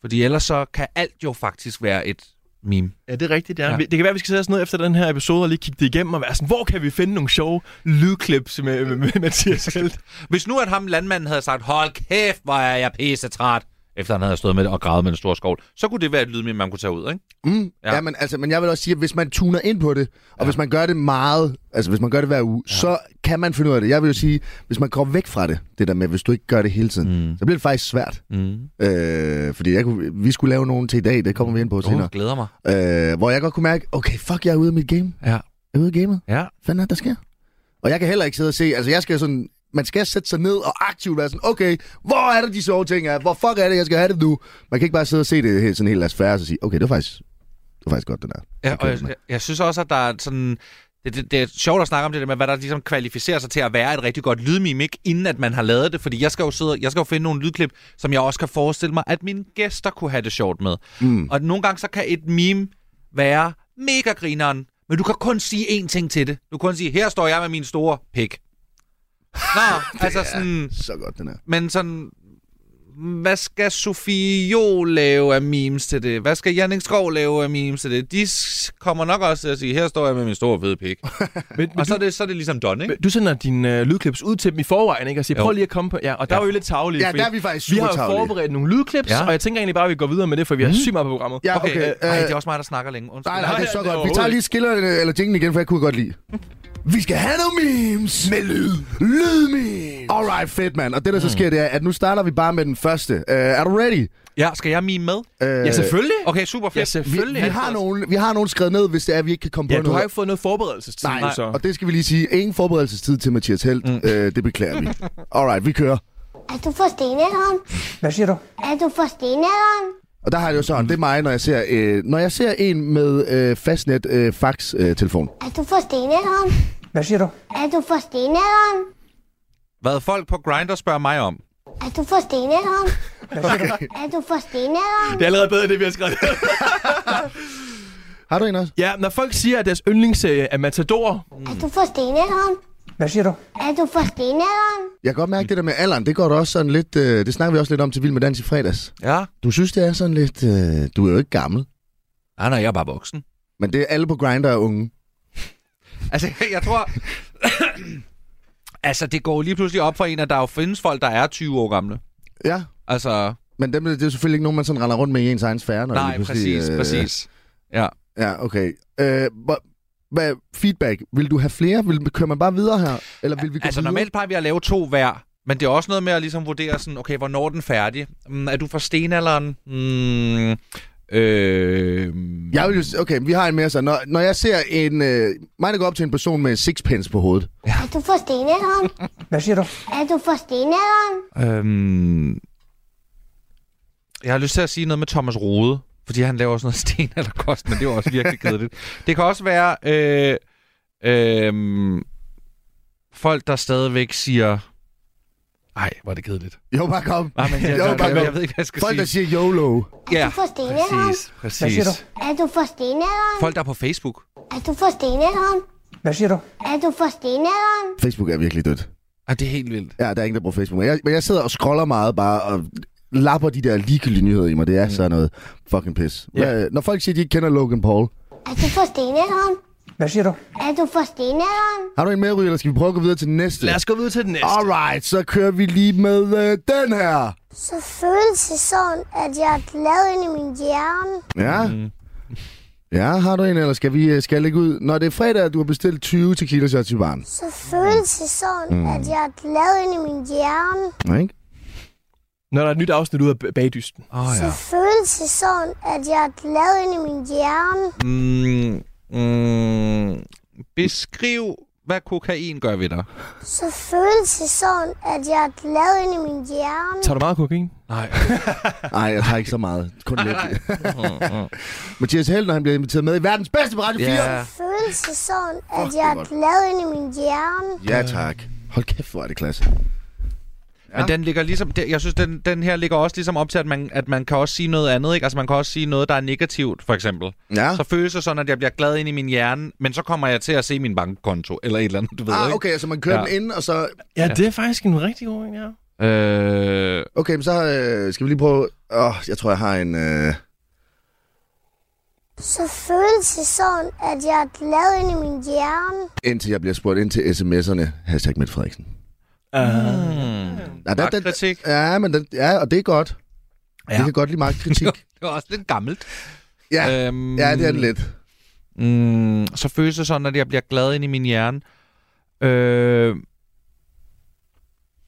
Fordi ellers så kan alt jo faktisk være et meme. Ja, det er rigtigt, ja. Ja. ja. Det kan være, at vi skal sætte os ned efter den her episode og lige kigge det igennem og være sådan, hvor kan vi finde nogle sjove lydklips med, *laughs* med, med Mathias Helt? Hvis nu, at ham landmanden havde sagt, hold kæft, hvor er jeg pisse træt. efter han havde stået med det og gravet med en stor skovl, så kunne det være et lydmeme, man kunne tage ud, ikke? Mm, Ja. ja. ja men, altså, men jeg vil også sige, at hvis man tuner ind på det, og ja. hvis man gør det meget, altså hvis man gør det hver uge, ja. så kan man finde ud af det. Jeg vil jo sige, hvis man kommer væk fra det, det der med, hvis du ikke gør det hele tiden, mm. så bliver det faktisk svært. Mm. Øh, fordi jeg kunne, vi skulle lave nogen til i dag, det kommer vi ind på senere. Oh, glæder mig. Øh, hvor jeg godt kunne mærke, okay, fuck, jeg er ude af mit game. Ja. Jeg er ude af gamet. Ja. Hvad fanden er det, der sker? Og jeg kan heller ikke sidde og se, altså jeg skal sådan, man skal sætte sig ned og aktivt være sådan, okay, hvor er det de sjove ting er? Hvor fuck er det, jeg skal have det nu? Man kan ikke bare sidde og se det helt, sådan helt last færre og så sige, okay, det var faktisk, det var faktisk godt, den der. Ja, køber og jeg, den. jeg, jeg synes også, at der er sådan... Det, det, det er sjovt at snakke om det der med, hvad der ligesom kvalificerer sig til at være et rigtig godt lydmimik, inden at man har lavet det. Fordi jeg skal jo sidde, jeg skal jo finde nogle lydklip, som jeg også kan forestille mig, at mine gæster kunne have det sjovt med. Mm. Og nogle gange så kan et meme være mega grineren, men du kan kun sige én ting til det. Du kan kun sige, her står jeg med min store pik. Nå, altså sådan... Så godt, den er. Men sådan, hvad skal Sofie Jo lave af memes til det? Hvad skal Jannik Skov lave af memes til det? De s- kommer nok også til at sige, her står jeg med min store fede *laughs* pik. Men, men og så er, det, så er det ligesom done, ikke? du, du sender dine øh, lydklips ud til dem i forvejen, ikke? Og siger, Jo. prøv lige at komme på... Ja, og der Ja. er jo lidt tavlige. Ja, fordi der er vi faktisk Vi super har jo tarvelige. forberedt nogle lydklips, Ja. ja. Mhm. og jeg tænker egentlig bare, at vi går videre med det, for vi har sygt meget på programmet. Ja, okay. okay. Ej, det øh, er også mig, der snakker længe. Undskyld. nej, nej, det er så Nej, godt. Vi tager overhovedet lige skillerne eller jinglen igen, for jeg kunne godt lide. Vi skal have nogle memes! Med lyd. Lyd memes! Mm. Alright, fedt, mand. Og det, der så sker, det er, at nu starter vi bare med den første. Uh, er du ready? Ja, skal jeg mime med? Uh, ja selvfølgelig. Okay, super fedt. ja, Vi, selvfølgelig. vi, har nogen, vi har nogen skrevet ned, hvis det er, at vi ikke kan komme Ja, på du har noget. ikke fået noget forberedelsestid, Nej, nu, så. og det skal vi lige sige. Ingen forberedelsestid til Mathias Helt. Mm. Øh, det beklager vi. Alright, vi kører. Er du forstenet, Ron? Hvad siger du? Er du forstenet, Ron? Og der har jeg det jo sådan, det er mig, når jeg ser, øh, når jeg ser en med øh, fastnet øh, fax-telefon. Er du forstenet, Ron? Hvad siger du? Er du forstenet, Ron? Hvad folk på Grindr spørger mig om. Er du forstenet, Ron? *laughs* Er du forstenet, Ron? Det er allerede bedre, det vi har skrevet. *laughs* har du en også? ja, når folk siger, at deres yndlingsserie er Matador, Er du forstenet, Ron? Hvad siger du? Er du forstenet, Ron? Jeg kan godt mærke det der med alderen. Det går da også sådan lidt... Øh, det snakker vi også lidt om til Vild med Dans i fredags. Ja. Du synes, det er sådan lidt... Øh, du er jo ikke gammel. Nej, nej, jeg er bare *laughs* voksen. Men det er alle på Grindr er unge. Altså, jeg tror... *coughs* altså, det går jo lige pludselig op for en, at der jo findes folk, der er 20 år gamle. Ja, Altså, men dem, det er jo selvfølgelig ikke nogen, man sådan render rundt med i ens egen sfære. Når det nej, lige pludselig, præcis, øh, præcis. Ja. Ja, okay. Øh, hvor- hvad, feedback, vil du have flere? Vil, kører man bare videre her? Eller vil vi gå altså videre? normalt plejer vi at lave to hver, men det er også noget med at ligesom vurdere sådan, okay, hvornår er den færdig? Mm, er du fra stenalderen? Mm, øh, Jeg vil jo, s- okay, vi har en mere så. Når, når jeg ser en... Øh, mig, der går op til en person med sixpence på hovedet. Er du forstenet, Ron? Hvad siger du? Er du forstenet, Ron? øh, jeg har lyst til at sige noget med Thomas Rode, fordi han laver sådan noget *laughs* stenalderkost, men det er jo også *laughs* virkelig kedeligt. Det kan også være øh, øh, folk, der stadigvæk siger, ej, hvor er det kedeligt. Jo, bare kom. Nej, men jeg, jeg, jo, jeg, bare jeg, kom. jeg ved ikke, hvad jeg skal Folk, der sige. siger YOLO. Er Ja, du forstenet, Ron? præcis, Hvad siger du? præcis. Er du forstenet, Ron? Folk, der er på Facebook. Er du forstenet, Ron? Hvad siger du? Er du forstenet, Ron? Facebook er virkelig dødt. Ja, det er helt vildt. Ja, der er ingen, der bruger Facebook. Men jeg, men jeg sidder og scroller meget bare og lapper de der ligegyldige nyheder i mig. Mm. Det er sådan noget fucking pis. Ja. Hvad, når folk siger, de ikke kender Logan Paul. Er du forstenet, Ron? Hvad siger du? Er du forstenet, Ron? Har du en medryg, eller skal vi prøve at gå videre til den næste? lad os gå videre til den næste. Alright, så kører vi lige med øh, den her. Så føles det sådan, at jeg er glad inde i min hjerne. Ja. Mm. Ja, har du en, eller skal vi øh, skal jeg lægge ud? Når det er fredag, og du har bestilt 20 tequila shots i baren. Så føles det sådan, mm. at jeg er glad inde i min hjerne. Ja, ikke? Når der er et nyt afsnit ud af B- Bagdysten. Åh, oh, Så føles det sådan, at jeg er glad inde i min hjerne. Mm, mm, beskriv, hvad kokain gør ved dig. Så føles det sådan, at jeg er glad inde i min hjerne. Tager du meget kokain? Nej. Nej, jeg tager ikke så meget. Kun *laughs* lidt. Mathias Held, når han bliver inviteret med i verdens bedste på Radio 4. ja. Føles det sådan, at Fuck, jeg det er er godt. glad inde i min hjerne. Ja, tak. Hold kæft, hvor er det klasse. Ah, Men den ligger ligesom, det- jeg synes, den, den her ligger også ligesom op til, at man, at man kan også sige noget andet. Ikke? Altså, man kan også sige noget, der er negativt, for eksempel. Ja. Så føles det sådan, at jeg bliver glad ind i min hjerne, men så kommer jeg til at se min bankkonto, eller et eller andet, du ved, Ah, ikke? okay, så man kører Ja. ja. den ind, og så... Ja, det er faktisk en rigtig god en, ja. Øh, Okay, men så øh, skal vi lige prøve... Åh, jeg tror, jeg har en... Øh... Så føles det sådan, at jeg er glad inde i min hjerne. Indtil jeg bliver spurgt ind til sms'erne. Hashtag Mette Frederiksen. Ah. Uh, Ja, Magtkritik. ja, Øh, men den, ja, og det er godt. Ja. Ja. Vi kan godt lide meget kritik. *laughs* *laughs* Det var også lidt gammelt. ja, øhm, ja, det er det lidt. Mm, så føles det sådan, at jeg bliver glad ind i min hjerne. Øh,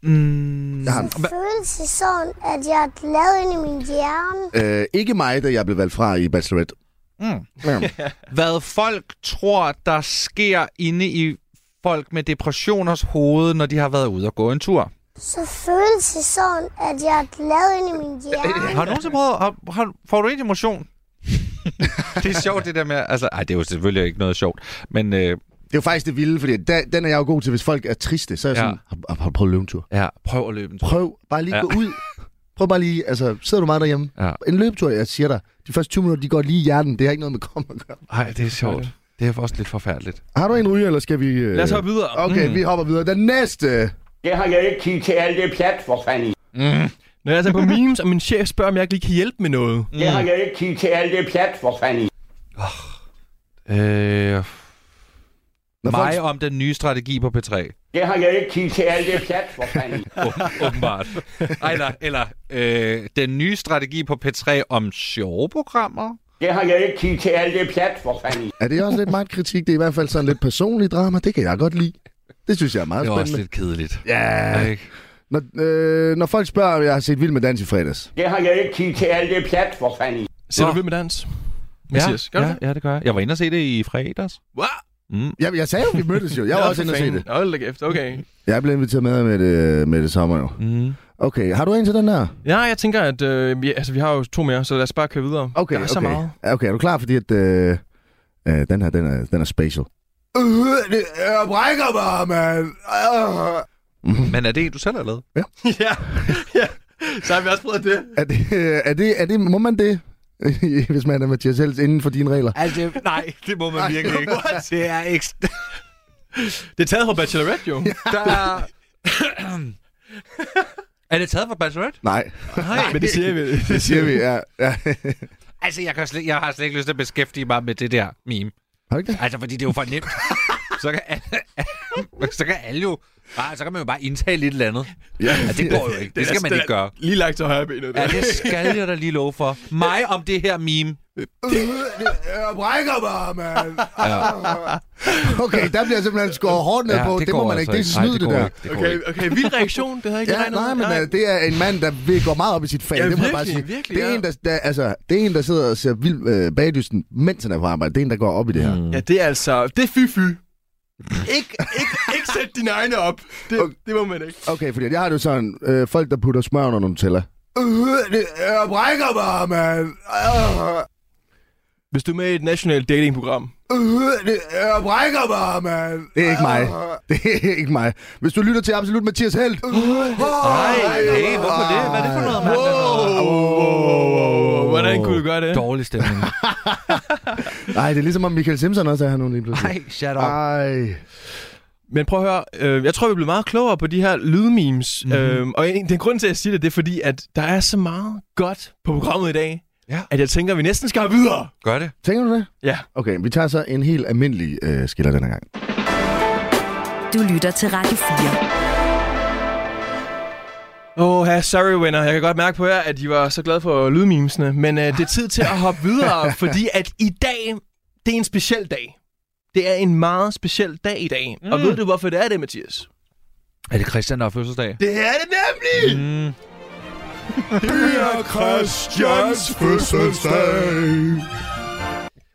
mm, Jeg har en- Det føles det sådan, at jeg er glad inde i min hjerne. Øh, ikke mig, da jeg blev valgt fra i Bachelorette. Mm. Ja. Hvad folk tror, der sker inde i folk med depressioners hoved, når de har været ude og gå en tur. Så føles det sådan, at jeg er glad inde i min hjerne. Har du nogensinde prøvet, har, har, får du ikke *laughs* emotion? det er sjovt det der med, altså, ej, det er jo selvfølgelig ikke noget sjovt, men øh, Det er jo faktisk det vilde, fordi da, den er jeg jo god til, hvis folk er triste, så er jeg Ja. ja. sådan, har, har du prøvet løbetur? ja, prøv at løbe en tur. Prøv bare lige at Ja. ja. gå ud. Prøv bare lige, altså, sidder du meget derhjemme? Ja. En løbetur, jeg siger dig, de første 20 minutter, de går lige i hjernen, det har ikke noget med kom at gøre. Ej, det er sjovt. Det er også lidt forfærdeligt. Har du en ryge, eller skal vi... Øh... Lad os hoppe videre. Okay, mm. vi hopper videre. Den næste! Det har jeg ikke tid til alt det pjat, for fanden. Når jeg er altså på memes, og min chef spørger, om jeg ikke lige kan hjælpe med noget. Det har jeg ikke tid til alt det pjat, for fanden. Øh, Når mig folk- om den nye strategi på P3, Det har jeg ikke tid til alt det pjat, for fanden. Åben- åbenbart. *laughs* Ej, eller eller øh, den nye strategi på P3 om sjove programmer. Det har jeg ikke tid til alt det pjat, for fanden. Er det også lidt meget kritik? Det er i hvert fald sådan lidt personlig drama. Det kan jeg godt lide. Det synes jeg er meget Det er også spændende. lidt kedeligt. Ja, Ikke? når, øh, når folk spørger, om jeg har set Vild med Dans i fredags. Det har jeg ikke tid til alt det pjat, for fanden. Ser du Nå. vild med dans? Mathias, gør du ja, ja, det gør jeg. Jeg var inde og se det i fredags. Wow. Mm. Jeg, jeg sagde jo, vi mødtes jo. Jeg var også inde og se det. Hold da kæft, okay. Jeg blev inviteret med med det, med det sommer jo. Mm. Okay, har du en til den her? Ja, jeg tænker, at øh, vi, altså, vi har jo to mere, så lad os bare køre videre. Okay, der er okay. så meget. Ja, Okay, er du klar? Fordi at, øh, øh, den her, den er, den er spatial. Øh, det, jeg brækker mig, mand! Øh. Men er det en, du selv har lavet? ja, ja. Så har vi også prøvet det. Er det, øh, er det, er det, må man det, *laughs* hvis man er Mathias Hels, inden for dine regler? Altså, *laughs* nej, det må man virkelig ikke. Det er ekstra. Det er taget fra Bachelorette, jo. *laughs* Der er... *clears throat* er det taget fra Bachelorette? Nej, Nej. Men det siger vi. *laughs* det siger vi. Ja, ja. Altså, jeg, kan slet, jeg har slet ikke lyst til at beskæftige mig med det der meme. Har du ikke det? Altså, fordi det er jo for *laughs* nemt. så, kan alle, *laughs* så kan alle jo... Bare, så kan man jo bare indtage lidt eller andet. Ja, Ja, det går jo ikke. Det skal man ikke gøre. Lige lagt til højre benet. Ja, *laughs* det skal jeg da lige love for. Mig om det her meme. Øh, Jeg brækker mig, mand! Okay, der bliver simpelthen skåret hårdt ned på. Det, det må man ikke. Det er snyd, det, går altså der. ikke. Det går Okay, ikke. okay, vild reaktion. Det havde jeg ikke Ja, regnet nej, med. men øh, det er en mand, der vil gå meget op i sit fag. Ja, det må jeg bare sige. virkelig, virkelig, det, er ja. en, der, der, altså, det er en, der sidder og ser vild øh, bagdysten, mens han er på arbejde. Det er en, der går op i det her. Mm. Ja, det er altså... Det er fy-fy. ikke, ikke, ikke sæt dine egne op. Det, Okay. det må man ikke. Okay, fordi jeg har det jo sådan, øh, folk, der putter smør under nogle teller. Øh, det, jeg brækker mig, mand! Øh, Hvis du er med i et nationalt datingprogram, øh, det, jeg brækker mig, mand! Det er ikke mig. Det er ikke mig. Hvis du lytter til Absolut Mathias Helt. Øh, Nej, hey, hvorfor det? Hvad er det for noget, mand? Wow. Hvordan kunne du gøre det? *laughs* Dårlig stemning. Nej, det er ligesom om Michael Simpson også er her nu lige pludselig. Nej, shut up. Ej. Men prøv at høre, øh, jeg tror, vi er blevet meget klogere på de her lydmemes. Mm-hmm. Øh, og en, den grund til, at jeg siger det, det er fordi, at der er så meget godt på programmet i dag, Ja. at jeg tænker, at vi næsten skal have videre. Gør det. Tænker du det? Ja. Okay, vi tager så en helt almindelig øh, skiller denne gang. Du lytter til Radio 4. Åh, oh, sorry venner. Jeg kan godt mærke på jer, at I var så glade for lydmemesene. Men øh, det er tid til at hoppe videre, fordi at i dag, det er en speciel dag. Det er en meget speciel dag i dag. Mm. Og ved du, hvorfor det er det, Mathias? Er det Christian, der har fødselsdag? Det er det nemlig! Mm. Det er Christians fødselsdag.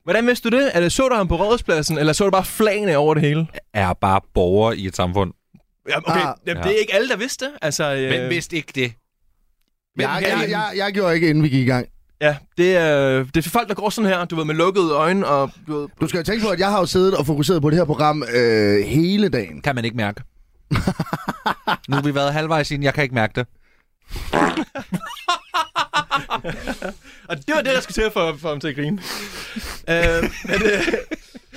Hvordan vidste du det? Eller så du ham på rådspladsen, eller så du bare flagene over det hele? Er bare borger i et samfund. Ja, okay, Ah. ah, jamen, Ja. det er ikke alle, der vidste det. Altså, øh, ikke det. Jeg, jeg, jeg, jeg gjorde ikke, inden vi gik i gang. Ja, det er, det er for folk, der går sådan her, du ved, med lukkede øjne og... Du ved, Du skal jo tænke på, at jeg har jo siddet og fokuseret på det her program øh, hele dagen. Kan man ikke mærke. nu har vi været halvvejs ind, jeg kan ikke mærke det. og det var det, der skulle til for, for ham til at grine. *laughs* øh, men, øh,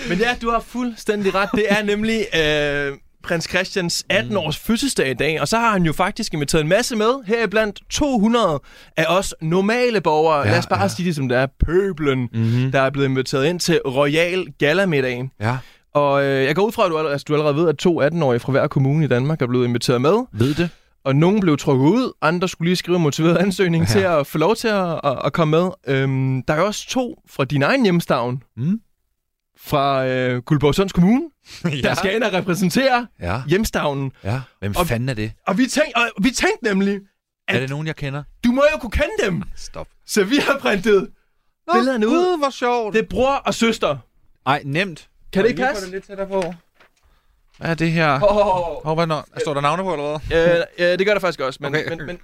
men ja, du har fuldstændig ret. Det er nemlig øh, prins Christians 18-års fødselsdag i dag, og så har han jo faktisk inviteret en masse med, heriblandt 200 af os normale borgere. Ja, Lad os bare ja. sige det, som det er. Pøblen, mm-hmm. der er blevet inviteret ind til Royal Galamiddag. Ja. Og øh, jeg går ud fra, at du, allerede, altså, du allerede ved, at to 18-årige fra hver kommune i Danmark er blevet inviteret med. Ved det? og nogen blev trukket ud, andre skulle lige skrive en motiveret ansøgning ja. til at få lov til at, at, at komme med. Øhm, der er også to fra din egen hjemstavn, Mm. fra øh, Guldborgsund *laughs* Kommune, ja. der skal ind og repræsentere Ja. hjemstavnen. ja. Hvem Og- fanden er det? Og vi, tænk, og vi tænkte nemlig, Er det nogen, jeg kender? du må jo kunne kende dem, Stop. så vi har printet Nå, Uh. billederne ud. Gud, hvor sjovt. Det er bror og søster. Ej, nemt. Kan det ikke Lige få passe? det lidt tættere på. Hvad er det her? Åh, Oh, oh. oh, hvad når? Står der navne på, eller hvad? øh, øh, det gør der faktisk også, men, Okay. okay. men, men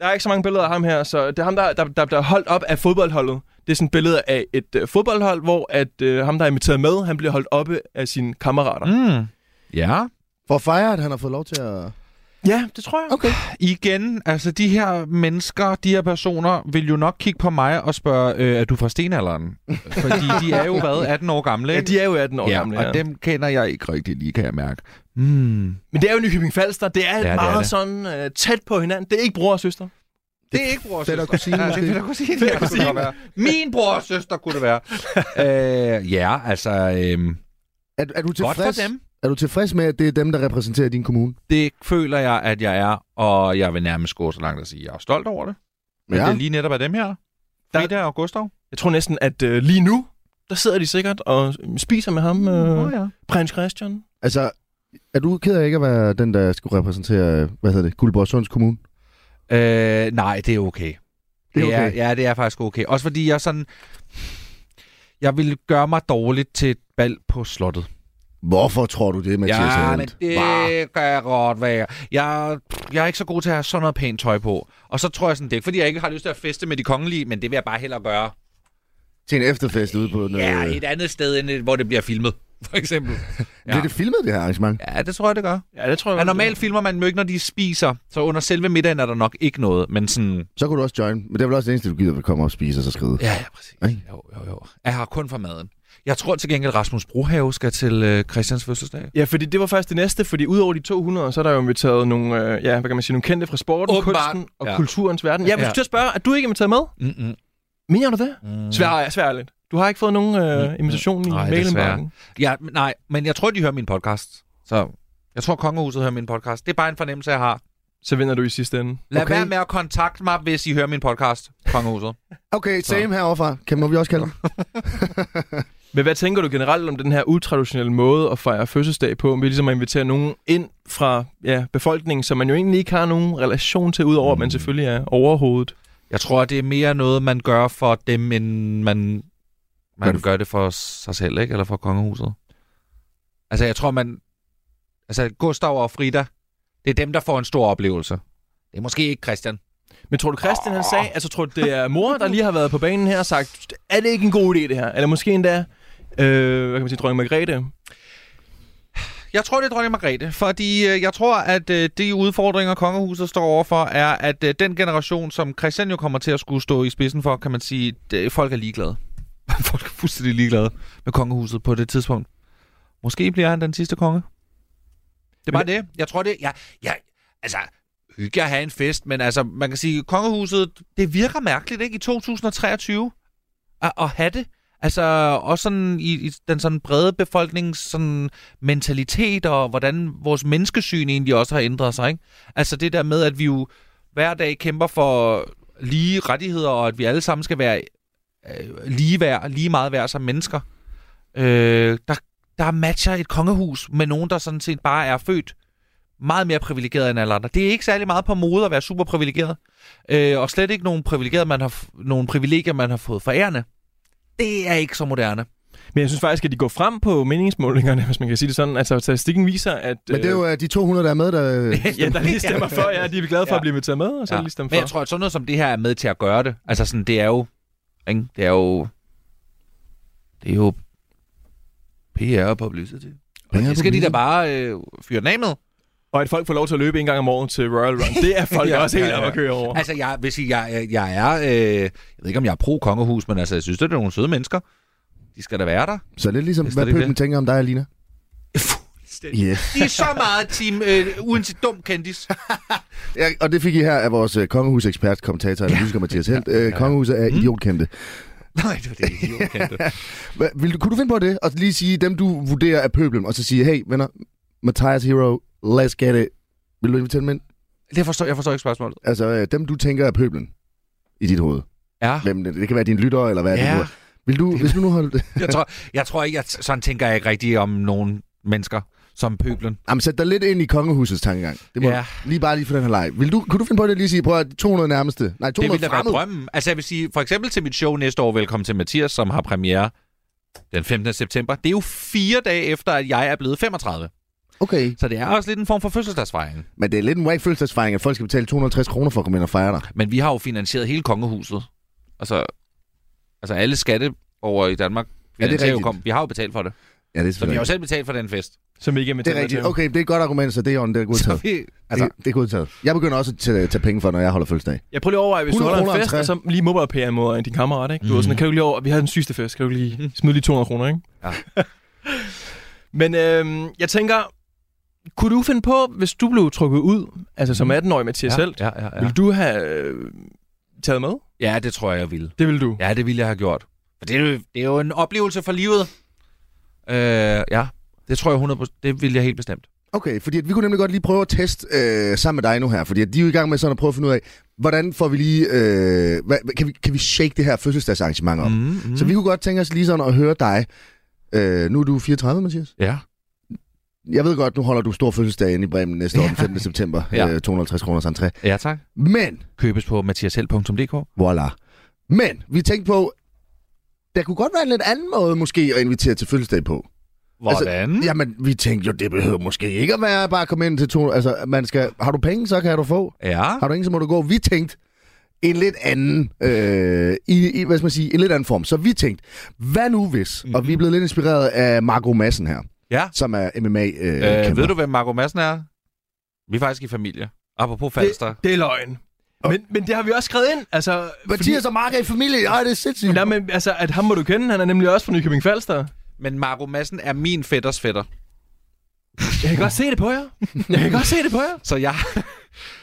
der er ikke så mange billeder af ham her, så det er ham, der, der, der, der er holdt op af fodboldholdet. Det er sådan et billede af et øh, fodboldhold, hvor at, øh, ham, der er inviteret med, han bliver holdt oppe af sine kammerater. Mm. Mm. Ja. For at fejre, at han har fået lov til at... Ja, det tror jeg. Okay. Igen, altså de her mennesker, de her personer, vil jo nok kigge på mig og spørge, øh, er du fra stenalderen? Fordi de er jo, *laughs* hvad, 18 år gamle, Ja, ikke? de er jo 18 år ja, gamle. og ja. dem kender jeg ikke rigtig lige, kan jeg mærke. Mm. Det, Men det er jo Nykøbing Falster. Det er det er ja, meget det. det er sådan øh, tæt på hinanden. Det er ikke bror og søster. er ikke bror og fætter og kusine, ja, det er måske. fætter og kusine, Fætter ja, og kunne det godt kusine. være. Min bror og søster kunne det være. *laughs* øh, ja, altså, øh, Er, er, du godt tilfreds, for dem. er du tilfreds med, at det er dem, der repræsenterer din kommune? Det føler jeg, at jeg er, og jeg vil nærmest gå så langt at sige, at jeg er stolt over det. Men ja. det er lige netop af dem her. Der- Frida og Gustav. Jeg tror næsten, at øh, lige nu, der sidder de sikkert og spiser med ham, øh, Åh, ja. prins Christian. Altså, er du ked af ikke at være den, der skulle repræsentere, hvad hedder det, Guldborg Sunds Kommune? Øh, nej, det er okay. Det er okay. Er, ja, det er faktisk okay. Også fordi jeg sådan... Jeg ville gøre mig dårligt til et bal på slottet. Hvorfor tror du det, Mathias ja, Helt? men det Hva? kan jeg godt være. Jeg, jeg er ikke så god til at have sådan noget pænt tøj på. Og så tror jeg sådan, det er ikke fordi, jeg ikke har lyst til at feste med de kongelige, men det vil jeg bare hellere gøre. Til en efterfest ude på... Noget... Ja, et andet sted, end et, hvor det bliver filmet, *laughs* for eksempel. Bliver det filmet, det her arrangement? Ja, det tror jeg, det gør. Ja, det tror jeg. Ja, normalt filmer man dem jo ikke, når de spiser, så under selve middagen er der nok ikke noget, men sådan... Så kunne du også join, men det er vel også det eneste, du gider, at komme op og spise og så skride. Ja, ja, præcis. Ikke? Jo, jo, jo. Jeg har kun for maden. Jeg tror til gengæld, Rasmus Brohave skal til øh, Christians fødselsdag. Ja, fordi det var faktisk det næste, fordi udover de 200, så er der jo inviteret nogle, øh, ja, hvad kan man sige, nogle kendte fra sporten, Åbenbart. kunsten og Ja. ja. kulturens verden. Ja, men Ja. ja. til at spørge, er du ikke inviteret med? Mm-mm. Mener du det? Mm. Svær, lidt. Du har ikke fået nogen øh, invitation i Mm. Nej, mailenbakken? Ja, men nej, men jeg tror, de hører min podcast. Så jeg tror, kongehuset hører min podcast. Det er bare en fornemmelse, jeg har. Så vinder du i sidste ende. Lad Okay. okay. være med at kontakte mig, hvis I hører min podcast, kongehuset. Okay, same heroverfra. Kan må vi også kalde dig? Men hvad tænker du generelt om den her utraditionelle måde at fejre fødselsdag på, med ligesom at invitere nogen ind fra ja, befolkningen, som man jo egentlig ikke har nogen relation til, udover Mm. at man selvfølgelig er overhovedet? *laughs* jeg tror, det er mere noget, man gør for dem, end man, Gør man det- gør det for sig selv, ikke? Eller for kongehuset. Altså, jeg tror, man... Altså, Gustav og Frida, det er dem, der får en stor oplevelse. Det er måske ikke Christian. Men tror du, Christian han sagde, altså tror du, det er mor, der lige har været på banen her og sagt, er det ikke en god idé det her? Eller måske endda, øh, hvad kan man sige, dronning Margrethe? Jeg tror, det er dronning Margrethe, fordi øh, jeg tror, at øh, de udfordringer, kongehuset står overfor, er, at øh, den generation, som Christian jo kommer til at skulle stå i spidsen for, kan man sige, det, folk er ligeglade. *laughs* folk er fuldstændig ligeglade med kongehuset på det tidspunkt. Måske bliver han den sidste konge. Det er bare det. Jeg tror det. Jeg, jeg, altså, hygge at have en fest, men altså, man kan sige, kongehuset, det virker mærkeligt, ikke? I 2023 at, at have det. Altså, også sådan i, i den sådan brede befolknings sådan mentalitet, og hvordan vores menneskesyn egentlig også har ændret sig, ikke? Altså det der med, at vi jo hver dag kæmper for lige rettigheder, og at vi alle sammen skal være øh, lige værd, lige meget værd som mennesker. Øh, der, der matcher et kongehus med nogen, der sådan set bare er født meget mere privilegeret end alle andre. Det er ikke særlig meget på mode at være super privilegeret, øh, og slet ikke nogen, privilegeret, man har, f- nogen privilegier, man har fået forærende. Det er ikke så moderne. Men jeg synes faktisk, at de går frem på meningsmålingerne, hvis man kan sige det sådan. Altså, statistikken viser, at... Men det er jo øh, de 200, der er med, *laughs* der... øh, ja, der lige stemmer for, ja, de er glade for Ja. at blive inviteret med, og så ja. lige stemme for. Men jeg tror, at sådan noget som det her er med til at gøre det. Altså sådan, det er jo... Ikke? Det er jo... Det er jo... PR og publicity. Og det skal de da bare øh, fyre den af med. Og at folk får lov til at løbe en gang om året til Royal Run, det er folk Ja, ja, også helt ja, ja, ja. op at køre over. Altså, jeg vil sige, jeg, jeg- jeg er... Øh, jeg ved ikke, om jeg er pro-kongehus, men altså, jeg synes, det er nogle søde mennesker. De skal da være der. Så lidt ligesom, Vidste hvad du ikke pøben det? tænker om dig, Alina. Yeah. De er så meget team, øh, uden til dum kendis. Ja, og det fik I her af vores øh, kongehusekspert, kommentator, analytiker Mathias Helt. Øh, kongehuset er idiotkendte. *laughs* Nej, det var det, de kendte. Hva, vil du, kunne du finde på det? Og lige sige dem, du vurderer er pøblen, og så sige, hey venner, Mathias Hero, let's get it. Vil du invitere dem ind? Det forstår, jeg forstår ikke spørgsmålet. Altså, øh, dem du tænker er pøblen i dit hoved. Ja. Hvem, det, det kan være dine lyttere, eller hvad er det Ja. nu er. Vil du, hvis du nu holdt... Jeg tror, jeg tror ikke, jeg, sådan tænker jeg ikke rigtigt om nogen mennesker som pøblen. Jamen, sæt dig lidt ind i kongehusets tankegang. Det må Ja. ja. lige bare lige for den her leg. Vil du, kunne du finde på det lige at sige, prøv at 200 nærmeste? Nej, Det 200 ville da være fremmede. drømmen. Altså jeg vil sige, for eksempel til mit show næste år, Velkommen til Mathias, som har premiere den 15. september. Det er jo fire dage efter, at jeg er blevet 35. Okay, Så det er også lidt en form for fødselsdagsfejring. men det er lidt en whack fødselsdagsfejring, at folk skal betale 250 kroner for at komme ind og fejre dig. Men vi har jo finansieret hele kongehuset. Altså, altså alle skatte over i Danmark. det er finansierer jo rigtigt. kom- Vi har jo betalt for det. Ja, det er Så vi har jo selvfølgelig. selv betalt for den fest. Som ikke er med Det er rigtigt. Okay, det er et godt argument, så det er, on, det er Så godtaget. vi, Altså, det, det er godtaget. Jeg begynder også at tage, tage penge for, når jeg holder fødselsdag. Jeg prøver lige at overveje, hvis du 100 holder en kroner fest, entré. og så lige mobber pære mod din kammerat, ikke? Du mm. er sådan, kan du ikke lige over, vi har den sygeste fest, kan du ikke lige smide lige 200 kroner, ikke? Ja. *laughs* Men øhm, jeg tænker, kunne du finde på, hvis du blev trukket ud, altså som 18-årig Mathias ja, selv, ja, ja, ja, ja. ja. ville du have øh, taget med? ja, det tror jeg, jeg ville. Det ville du. Ja, det ville jeg have gjort. For det er jo, det er jo en oplevelse for livet. Øh, ja, det tror jeg 100%. Det ville jeg helt bestemt. Okay, fordi at vi kunne nemlig godt lige prøve at teste øh, sammen med dig nu her, fordi at de er jo i gang med sådan at prøve at finde ud af, hvordan får vi lige, øh, hvad, kan, vi, kan vi shake det her fødselsdagsarrangement op? Mm. mm. Så vi kunne godt tænke os lige sådan at høre dig. Øh, nu er du 34, Mathias. Ja. Jeg ved godt, nu holder du stor fødselsdag inde i Bremen næste år den 15. september. *laughs* Ja. Ja. Øh, 250 kroners entré. ja, tak. Men, Købes på mathiasheld.dk. voilà. Men, vi tænkte på, der kunne godt være en lidt anden måde måske at invitere til fødselsdag på. Hvordan? Altså, Jamen, vi tænkte jo, det behøver måske ikke at være bare at komme ind til to... Altså, man skal... Har du penge, så kan du få. ja. Har du ingen, så må du gå. Vi tænkte en lidt anden, øh, i, i, hvad skal man sige, en lidt anden form. Så vi tænkte, hvad nu hvis? Mm-hmm. Mhm. Og vi er blevet lidt inspireret af Marco Madsen her, Ja. som er MMA øh, Øh, kæmper. ved du, hvem Marco Madsen er? Vi er faktisk i familie. Apropos Falster. Det, det er løgn. Men, men det har vi også skrevet ind, altså... Mathias og Mark er i familie. Ej, det er sindssygt. Nej, men altså, at ham må du kende, han er nemlig også fra Nykøbing Falster. Men Marco Madsen er min fætters fætter. Jeg kan godt se det på jer. Jeg kan godt se det på jer. Så jeg... *laughs*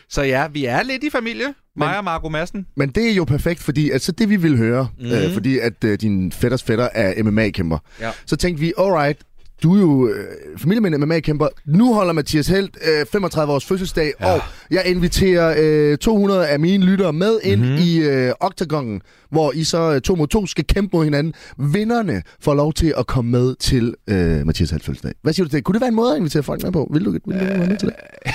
Så ja, vi er lidt i familie. Men... Mig og Marco Madsen. Men det er jo perfekt, fordi altså det vi ville høre, mm. øh, fordi at øh, din fætters fætter er MMA-kæmper. Mhm. Ja. Så tænkte vi, alright, du er jo øh, familie med en MMA-kæmper. Nu holder Mathias Helt øh, 35 års fødselsdag, ja. og jeg inviterer øh, 200 af mine lyttere med ind Mhm. mm-hmm. i øh, oktagongen, hvor I så øh, to mod to skal kæmpe mod hinanden. Vinderne får lov til at komme med til øh, Mathias Helt fødselsdag. Hvad siger du til det? Kunne det være en måde at invitere folk med på? Vil du, vil du være med til Øh, det?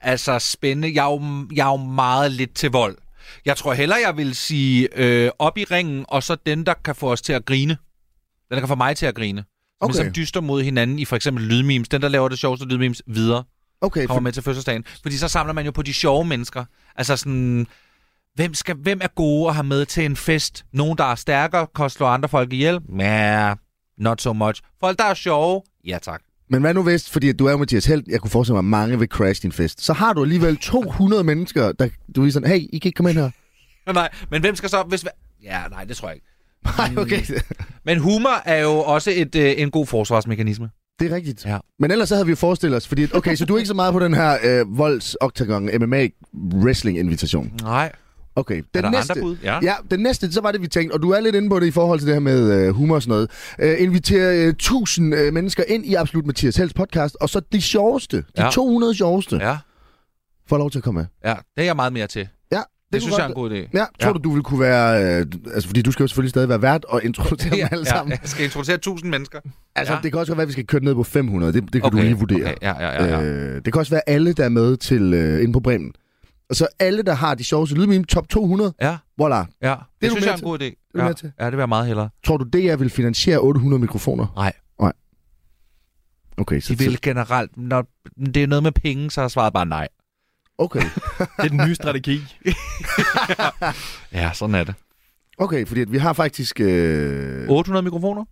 altså, spændende. Jeg er, jo, jeg er jo meget lidt til vold. Jeg tror heller, jeg vil sige øh, op i ringen, og så den, der kan få os til at grine. Den, der kan få mig til at grine. Som Okay. ligesom dyster mod hinanden i for eksempel lydmemes. Den, der laver det sjoveste lydmemes, videre. Okay, kommer med til fødselsdagen. Fordi så samler man jo på de sjove mennesker. Altså sådan, hvem, skal, hvem er gode at have med til en fest? Nogen, der er stærkere, kan slå andre folk ihjel? Nah, not so much. Folk, der er sjove? Ja tak. *laughs* Men hvad nu hvis, fordi at du er jo Mathias Held, jeg kunne forestille mig, at mange vil crash din fest. Så har du alligevel 200 mennesker, der du er sådan, hey, I kan ikke komme *laughs* ind her. Nej, men hvem skal så... Hvis, ja, nej, det tror jeg ikke. Nej, okay. Men humor er jo også et, øh, en god forsvarsmekanisme. *laughs* Det er rigtigt. Ja. Ja. Men ellers så havde vi jo forestillet os, fordi, at- okay, så du er ikke så meget på den her øh, volds oktagon MMA wrestling invitation. Nej. Okay, den Er der næste. andre bud? Ja. Ja, den næste, så var det, vi tænkte, og du er lidt inde på det i forhold til det her med øh, humor og sådan noget. Øh, invitere øh, 1000 øh, mennesker ind i Absolut Mathias Helds podcast, og så de sjoveste, de Ja. ja. 200 sjoveste, ja. Ja, får lov til at komme med. ja, det er jeg meget mere til. Det, Ja, det, kunne det synes godt- jeg er en *laughs* god idé. Ja, tror Ja. ja. du, du vil kunne være... Øh, altså, fordi du skal jo selvfølgelig stadig være vært og *laughs* introducere dem alle sammen. ja, jeg skal introducere 1000 mennesker. Altså, ja. ja. det kan også godt være, at vi skal køre den ned på 500. Det, det kan okay, du lige vurdere. Okay, ja, ja, ja, ja. Øh, det kan også være alle, der er med til øh, inde på Bremen. Og så alle, der har de sjoveste lydmime, top 200, ja. voilà. Ja, det, det du synes med jeg er en til. god idé. du ja. med til. ja, det vil jeg meget hellere. Tror du, det jeg vil finansiere 800 mikrofoner? Nej, Okay, så... de vil generelt, når det er noget med penge, så er svaret bare nej. Okay, Det er den nye strategi. Ja, sådan er det. okay fordi at vi har faktisk... Øh... 800 *laughs* mikrofoner?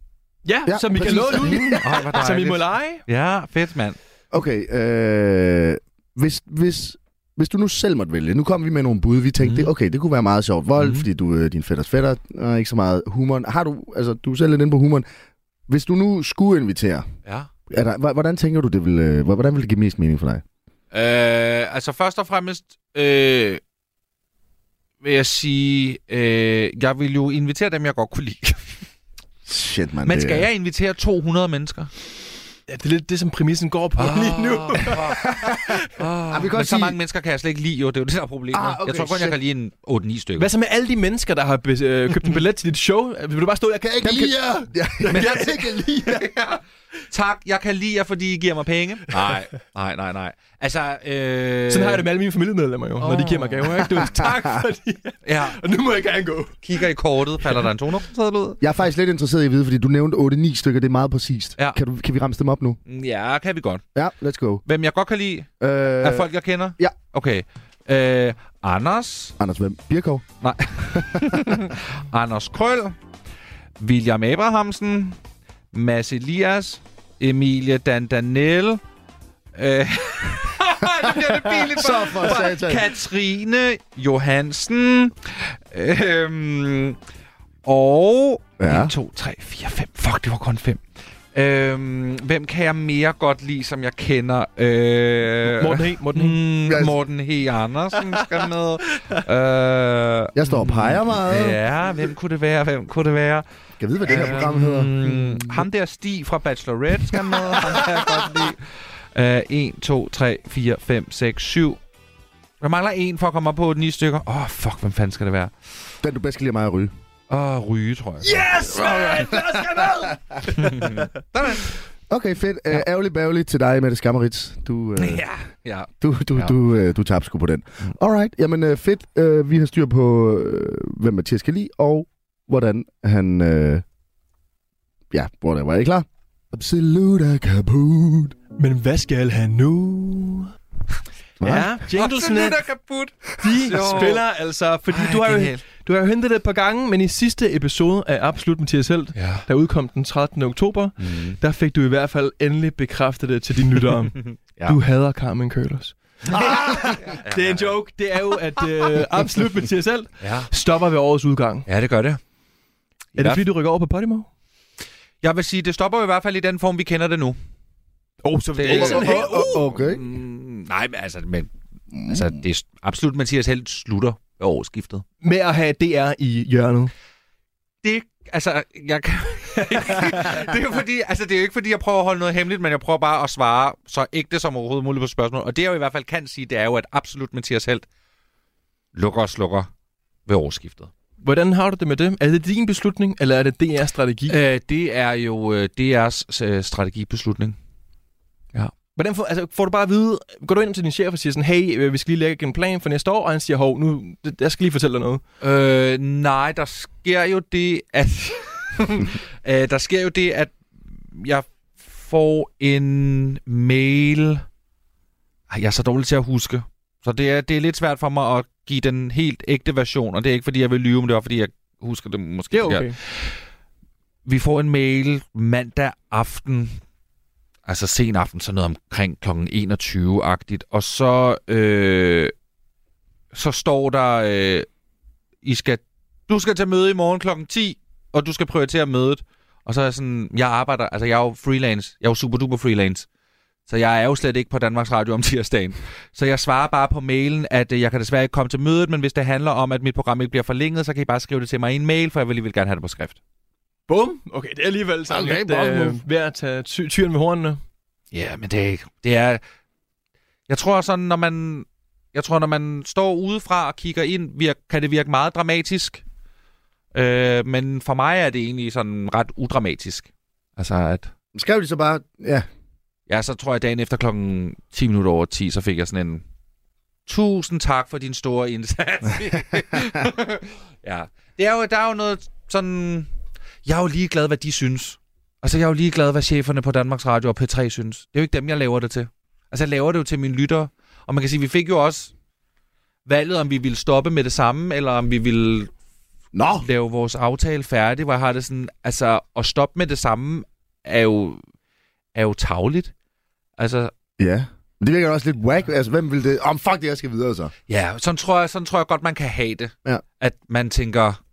Ja, ja Ja, som vi kan præcis. låne ud. Ej, hvor Som I dejligt. må lege. Ja, fedt mand. Okay, øh... hvis, hvis, hvis du nu selv måtte vælge, nu kom vi med nogle bud, vi tænkte, Mhm. mm. det, okay, det kunne være meget sjovt. Vold, Mhm. mm. fordi du er din fætters fætter, og ikke så meget humoren. Har du, altså, du er selv lidt inde på humoren. Hvis du nu skulle invitere, Ja. er der, hva- hvordan tænker du, det vil, øh, hva- hvordan vil det give mest mening for dig? Øh, altså først og fremmest øh, vil jeg sige, øh, jeg vil jo *laughs* invitere dem, jeg godt kunne lide. Shit, man. Men skal jeg invitere 200 mennesker? Ja, det er lidt det, som præmissen går på ah. lige nu. Ah, vi kan Men godt så sige, mange mennesker kan jeg slet ikke lide, jo. Det er jo det, der er problemet. Ah, okay, jeg tror kun, jeg shit. kan lide en 8-9 stykker. Hvad så med alle de mennesker, der har be- øh, *laughs* købt en billet til dit show? Vil du bare stå, jeg kan ikke Dem lide kan- jer? *laughs* Ja, Jeg kan ikke lide jer. *laughs* Tak, jeg kan lide jer, fordi I giver mig penge. Nej, nej, nej, nej. Altså, øh... Sådan har jeg det med alle mine familiemedlemmer jo, oh. når de giver mig gaver. Ikke? Du, *laughs* tak fordi... Ja, Og nu må jeg gerne gå. kigger i kortet, falder der en toner på ud. jeg er faktisk lidt interesseret i at vide, fordi du nævnte 8-9 stykker, det er meget præcist. Ja. Kan, du, kan vi ramse dem op nu? Mm, Ja, kan vi godt. Ja, let's go. Hvem jeg godt kan lide, Øh, øh... er folk, jeg kender? ja. Okay. Øh, Anders. Anders Hvem? Birkov? Nej. Anders Krøl. William Abrahamsen. Mads Elias. Emilie Dandanel. Øh... *laughs* det bliver lidt pinligt for- Så for satan. Katrine Johansen. Øhm, og... Ja. 1, 2, 3, 4, 5. Fuck, det var kun 5. Øhm, hvem kan jeg mere godt lide, som jeg kender? Øh, Morten He, Morten He. Mm, Morten H. Andersen skal *laughs* med. øh, Jeg står og peger meget. ja, hvem kunne det være? Hvem kunne det være? Kan vide, hvad det her program hedder? Øh, Mm, ham der Stig fra Bachelorette skal med. *laughs* ham kan jeg godt lide. Uh, 1, 2, 3, 4, 5, 6, 7. Der mangler en for at komme op på 9 stykker. Åh, oh, fuck, hvem fanden skal det være? Den, du bedst kan lide mig at ryge. Åh, oh, Ryge, tror jeg. Yes, man! Lad os gå ned! Okay, fedt. Ja. Øh, ærgerlig bærgerlig til dig, Mette Skammeritz. Du, øh, Ja, ja. du, du, Ja. ja. du, øh, du tabte sgu på den. Alright, jamen øh, fedt. Øh, vi har styr på, øh, hvem Mathias kan lide, og hvordan han... Øh, ja, hvordan var I klar? Absolut kaput. Men hvad skal han nu? Ja, jinglesene, Absolut er kaput. de Jo. spiller altså, fordi Ej, du har, jo, genialt. du har jo hentet det et par gange, men i sidste episode af Absolut Mathias Helt, Ja. der udkom den 13. oktober, Mm. der fik du i hvert fald endelig bekræftet det til dine lyttere. *laughs* Ja. ja. Du hader Carmen Køllers. det er en joke. Det er jo, at øh, Absolut Mathias Helt Ja. stopper ved årets udgang. ja, det gør det. Er det Ja. fordi, du rykker over på Podimo? Jeg vil sige, det stopper jo i hvert fald i den form, vi kender det nu. Åh, oh, så Det er ikke sådan helt... Oh, okay. Mm, nej, men altså, men, altså, det er s- absolut, Mathias Helt slutter ved årsskiftet. Med at have DR i hjørnet. Det, altså, jeg kan... *laughs* det er jo fordi, altså, det er jo ikke fordi, jeg prøver at holde noget hemmeligt, men jeg prøver bare at svare så ægte som overhovedet muligt på spørgsmålet. Og det, jeg jo i hvert fald kan sige, det er jo, at absolut Mathias Helt lukker og slukker ved årsskiftet. Hvordan har du det med det? Er det din beslutning, eller er det DR's strategi? Øh, det er jo øh, DR's øh, strategibeslutning. Hvordan får, altså, får du bare at vide, går du ind til din chef og siger sådan, hey, øh, vi skal lige lægge en plan for næste år, og han siger, hov, nu, det- jeg skal lige fortælle dig noget. Øh, nej, der sker jo det, at... *laughs* øh, der sker jo det, at jeg får en mail... Ej, jeg er så dårlig til at huske. Så det er, det er lidt svært for mig at give den helt ægte version, og det er ikke, fordi jeg vil lyve, men det er fordi, jeg husker det måske. Det er okay. forkert. Vi får en mail mandag aften, altså sen aften, sådan noget omkring kl. 21-agtigt, og så, øh, så står der, øh, I skal, du skal til møde i morgen kl. 10, og du skal prioritere mødet. Og så er jeg sådan, jeg arbejder, altså jeg er jo freelance, jeg er jo super duper freelance, så jeg er jo slet ikke på Danmarks Radio om tirsdagen. Så jeg svarer bare på mailen, at øh, jeg kan desværre ikke komme til mødet, men hvis det handler om, at mit program ikke bliver forlænget, så kan I bare skrive det til mig i en mail, for jeg vil alligevel gerne have det på skrift. Bum! Okay, det er alligevel sådan Okay, lidt bold move. øh, ved at tage ty- tyren ved hornene. Ja, men det er ikke... Det er... Jeg tror sådan, når man... Jeg tror, når man står udefra og kigger ind, virk, kan det virke meget dramatisk. Øh, men for mig er det egentlig sådan ret udramatisk. Altså, at... Skrev de så bare... Ja, Ja, så tror jeg, dagen efter klokken 10 minutter over 10, så fik jeg sådan en... Tusind tak for din store indsats. *laughs* ja. Det er jo, der er jo noget sådan... Jeg er jo ligeglad, hvad de synes. Altså, jeg er jo ligeglad, hvad cheferne på Danmarks Radio og P3 synes. Det er jo ikke dem, jeg laver det til. Altså, jeg laver det jo til mine lyttere. Og man kan sige, vi fik jo også valget, om vi ville stoppe med det samme, eller om vi ville nå! Altså, lave vores aftale færdig, hvor jeg har det sådan, altså, at stoppe med det samme er jo, er jo tavligt. Altså, Ja. Men det virker også lidt whack. Altså, hvem vil det... Åh, oh, fuck det, jeg skal videre så. ja, sådan tror jeg, sådan tror jeg godt, man kan have det. Ja. At man tænker,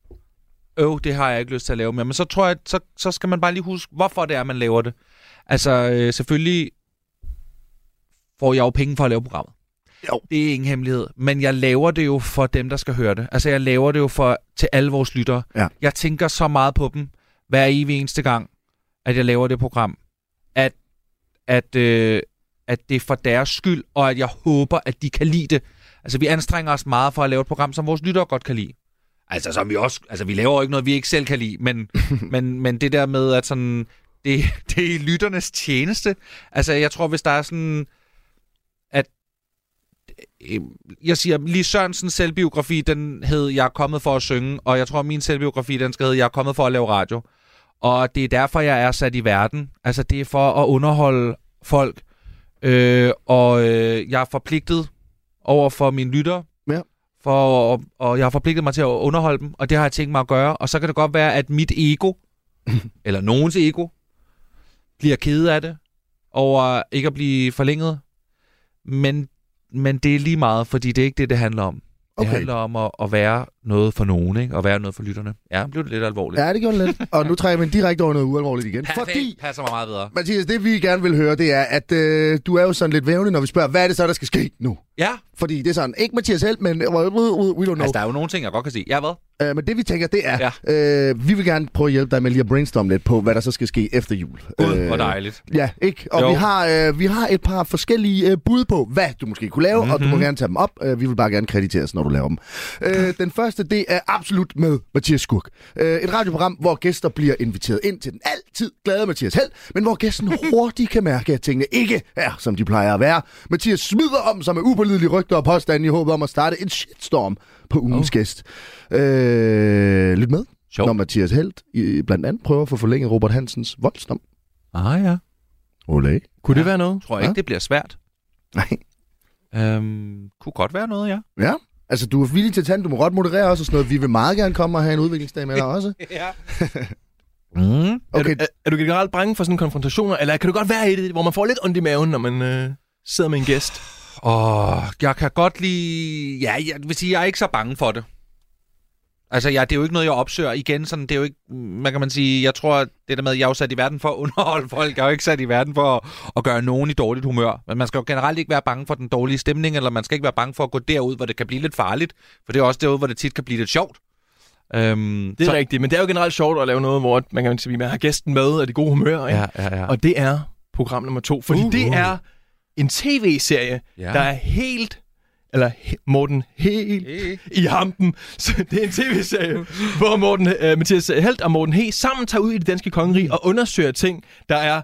øv, det har jeg ikke lyst til at lave mere. Men så tror jeg, så, så skal man bare lige huske, hvorfor det er, man laver det. Altså, øh, selvfølgelig får jeg jo penge for at lave programmet. Jo. Det er ingen hemmelighed. Men jeg laver det jo for dem, der skal høre det. Altså, jeg laver det jo for, til alle vores lyttere. Ja. Jeg tænker så meget på dem, hver evig eneste gang, at jeg laver det program, at at, øh, at det er for deres skyld, og at jeg håber, at de kan lide det. Altså, vi anstrenger os meget for at lave et program, som vores lyttere godt kan lide. Altså, som vi også... Altså, vi laver jo ikke noget, vi ikke selv kan lide, men, men, men det der med, at sådan... Det, *laughs* det er i lytternes tjeneste. Altså, jeg tror, hvis der er sådan... At... øh, Jeg siger, lige Sørensens selvbiografi, den hed Jeg er kommet for at synge, og jeg tror, min selvbiografi, den skal hedde Jeg er kommet for at lave radio. Og det er derfor, jeg er sat i verden. Altså, det er for at underholde folk. Øh, og øh, jeg er forpligtet over for mine lyttere. Ja. For, og, og jeg har forpligtet mig til at underholde dem, og det har jeg tænkt mig at gøre. Og så kan det godt være, at mit *laughs* ego, eller nogens ego, bliver ked af det over ikke at blive forlænget. Men, men det er lige meget, fordi det er ikke det, det handler om. Det Okay. handler om at, at være noget for nogen, ikke? Og være noget for lytterne. Ja, blev det lidt alvorligt. Ja, det gjorde den lidt. Og nu trækker jeg mig direkte over noget ualvorligt igen. Fordi passer mig meget bedre. Mathias, det vi gerne vil høre, det er, at øh, du er jo sådan lidt vævende, når vi spørger, hvad er det så, der skal ske nu? Ja, Fordi det er sådan, ikke Mathias Held, men we don't no. know. altså der er jo nogle ting, jeg godt kan sige. Ja, hvad? Øh, men det vi tænker, det er, ja. øh, vi vil gerne prøve at hjælpe dig med lige at brainstorme lidt på, hvad der så skal ske efter jul. Øh, Gud, hvor dejligt. Ja, ikke? Og Jo. vi har, øh, vi har et par forskellige øh, bud på, hvad du måske kunne lave, mm-hmm. og du må gerne tage dem op. Øh, vi vil bare gerne krediteres, når du laver dem. Øh, den første, det er absolut med Mathias Skurk. Øh, et radioprogram, hvor gæster bliver inviteret ind til den altid glade Mathias Held, men hvor gæsten hurtigt kan mærke, at tingene ikke er, som de plejer at være. Mathias smider om sig med upålidelige rygter og påstande i håbet om at starte en shitstorm på ugens oh. gæst. Øh, lyt med. Sjovt. Når Mathias Held øh, blandt andet prøver at få forlænget Robert Hansens voldsdom. Ah ja. Olé. Kunne det være noget? Jeg tror ikke, det bliver svært. Nej. Øhm, kunne godt være noget, ja. Ja. Altså, du er villig til at tage den. Du må godt moderere os og sådan noget. Vi vil meget gerne komme og have en udviklingsdag med dig også. *laughs* ja. mm. Okay, Er, du, er, er du generelt bange for sådan konfrontationer, eller kan du godt være i det, hvor man får lidt ondt i maven, når man øh, sidder med en gæst? Og jeg kan godt lide... Ja, jeg vil sige, jeg er ikke så bange for det. Altså, jeg, det er jo ikke noget, jeg opsøger igen. Sådan, det er jo ikke, man kan man sige, jeg tror, at det der med, at jeg er jo sat i verden for at underholde folk. Jeg er jo ikke sat i verden for at, at gøre nogen i dårligt humør. Men man skal jo generelt ikke være bange for den dårlige stemning, eller man skal ikke være bange for at gå derud, hvor det kan blive lidt farligt. For det er også derud, hvor det tit kan blive lidt sjovt. Øhm, Det er så- så... rigtigt, men det er jo generelt sjovt at lave noget, hvor man kan sige, man har gæsten med, og det gode humør, ikke? Ja, ja, ja. Og det er program nummer to, fordi Uh, uh, det uh. er en tv-serie, Ja. ja. der er helt, eller he, Morten helt i hampen. Så det er en tv-serie, hvor Morten, øh, Mathias Helt og Morten He sammen tager ud i det danske kongerige og undersøger ting, der er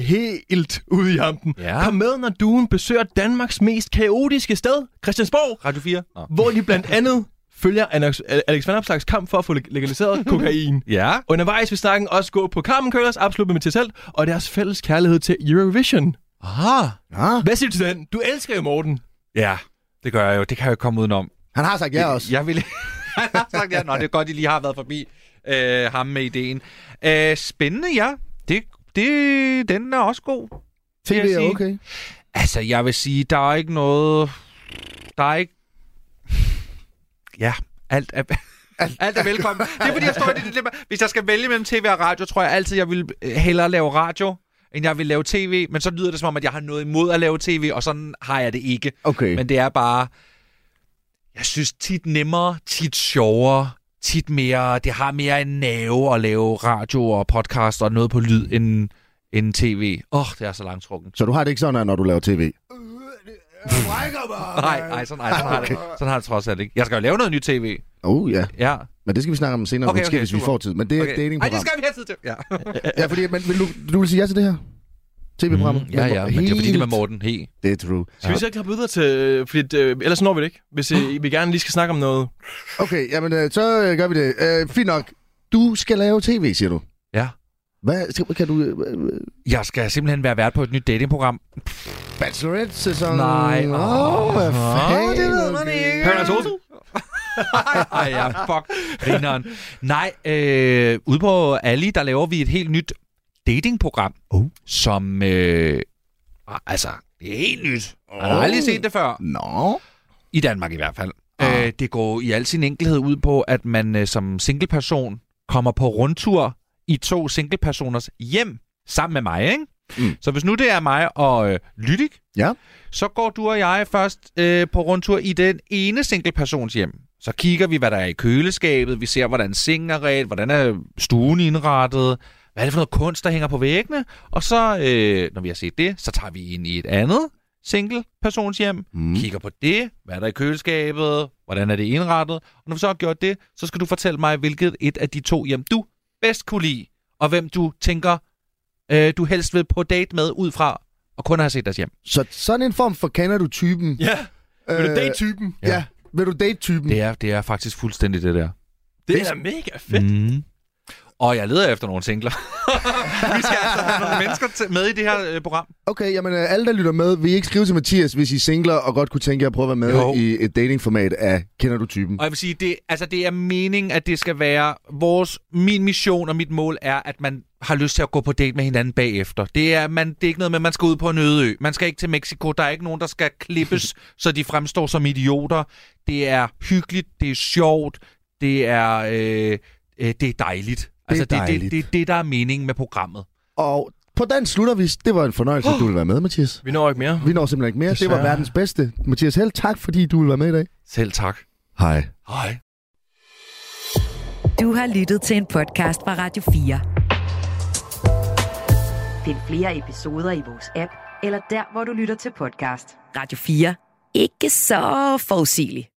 helt ude i hampen. Ja. Kom med, når duen besøger Danmarks mest kaotiske sted, Christiansborg Radio 4? Nå. hvor de blandt andet følger Alex- Alex Van Opslags kamp for at få leg- legaliseret kokain. Ja. Undervejs vil snakken også gå på Carmen Køllers Absolut med Mathias Held og deres fælles kærlighed til Eurovision. Ah. ah, Hvad siger du til den? Du elsker jo Morten. Ja, det gør jeg jo. Det kan jeg jo ikke komme udenom. han har sagt ja også. *laughs* Jeg vil... Han har sagt ja. Nå, det er godt, I lige har været forbi øh, ham med ideen. Øh, spændende, ja. Det, det, den er også god. vil TV jeg er sige. okay. Altså, jeg vil sige, der er ikke noget... Der er ikke... Ja, alt er... Alt er velkommen. Det er fordi, jeg står i det dilemma. Hvis jeg skal vælge mellem tv og radio, tror jeg altid, jeg vil øh, hellere lave radio, end jeg vil lave tv. Men så lyder det som om, at jeg har noget imod at lave tv, og sådan har jeg det ikke. Okay. Men det er bare... Jeg synes tit nemmere, tit sjovere, tit mere... Det har mere en nerve at lave radio og podcast og noget på lyd end, end tv. Åh, oh, det er så langtrukken. Så du har det ikke sådan, at når du laver tv? *laughs* Nej, nej, sådan, nej, sådan, har det, sådan har det trods alt ikke. Jeg skal jo lave noget nyt tv. Oh ja, Ja. men det skal vi snakke om senere, Okay, okay, måske, okay, hvis vi super. får tid. Men det er okay. et Ej, det datingprogram. skal vi have tid til. Ja, Ja, fordi, men vil du, du vil sige ja til det her? TV-programmet? Mm, ja, ja men det er fordi, det er med Morten. He. Det er true. Skal vi så ikke have videre til... Fordi, øh, ellers når vi det ikke, hvis øh, vi gerne lige skal snakke om noget. Okay, jamen, øh, så øh, gør vi det. Øh, fint nok. Du skal lave tv, siger du. Ja. Hvad skal, kan du... øh, Øh, Jeg skal simpelthen være vært på et nyt datingprogram. Bachelorette-sæson? Nej. Åh, oh, hvad fanden? ikke. Paradise Hotel? *laughs* Ej, ja, fuck. Grineren. Nej, øh, ude på Ali, der laver vi et helt nyt datingprogram, oh. som... Øh, altså, det er helt nyt. Oh. Jeg har aldrig set det før. Nå. I Danmark i hvert fald. Ah. Øh, det går i al sin enkelhed ud på, at man øh, som singleperson kommer på rundtur i to singlepersoners hjem sammen med mig, ikke? Mm. Så hvis nu det er mig og øh, Lydik, Ja. så går du og jeg først øh, på rundtur i den ene singlepersons hjem. Så kigger vi, hvad der er i køleskabet, vi ser, hvordan sengen er ret, hvordan er stuen indrettet, hvad er det for noget kunst, der hænger på væggene? Og så, øh, når vi har set det, så tager vi ind i et andet single-persons hjem, mm. kigger på det, hvad er der i køleskabet, hvordan er det indrettet, og når vi så har gjort det, så skal du fortælle mig, hvilket et af de to hjem, du bedst kunne lide, og hvem du tænker, øh, du helst vil på date med ud fra, og kun har set deres hjem. Så sådan en form for kender du typen. Ja, øh, det er Øh, date-typen. Ja. ja. Vil du date typen? Det er, det er faktisk fuldstændig det der. Det er da mega fedt. Mm. Mm. Og jeg leder efter nogle singler. *laughs* vi skal altså have nogle mennesker til- med i det her øh, program. Okay, jamen øh, alle, der lytter med, vil I ikke skrive til Mathias, hvis I er singler og godt kunne tænke jer at prøve at være med Jo. i et datingformat af Kender du typen? Og jeg vil sige, det, altså, det er meningen, at det skal være vores, min mission og mit mål er, at man har lyst til at gå på date med hinanden bagefter. Det er, man, det er ikke noget med, at man skal ud på en øde ø. Man skal ikke til Mexico. Der er ikke nogen, der skal *laughs* klippes, så de fremstår som idioter. Det er hyggeligt. Det er sjovt. Det er, øh, øh, det er dejligt. Altså, det, det, dejligt. det, det, er det, der er meningen med programmet. Og på den slutter vi. Det var en fornøjelse, at du ville være med, Mathias. Vi når ikke mere. Vi når simpelthen ikke mere. Det var Desværre. verdens bedste. Mathias Held, tak fordi du ville være med i dag. Selv tak. Hej. Hej. Du har lyttet til en podcast fra Radio 4. Find flere episoder i vores app, eller der, hvor du lytter til podcast. Radio 4. Ikke så forudsigeligt.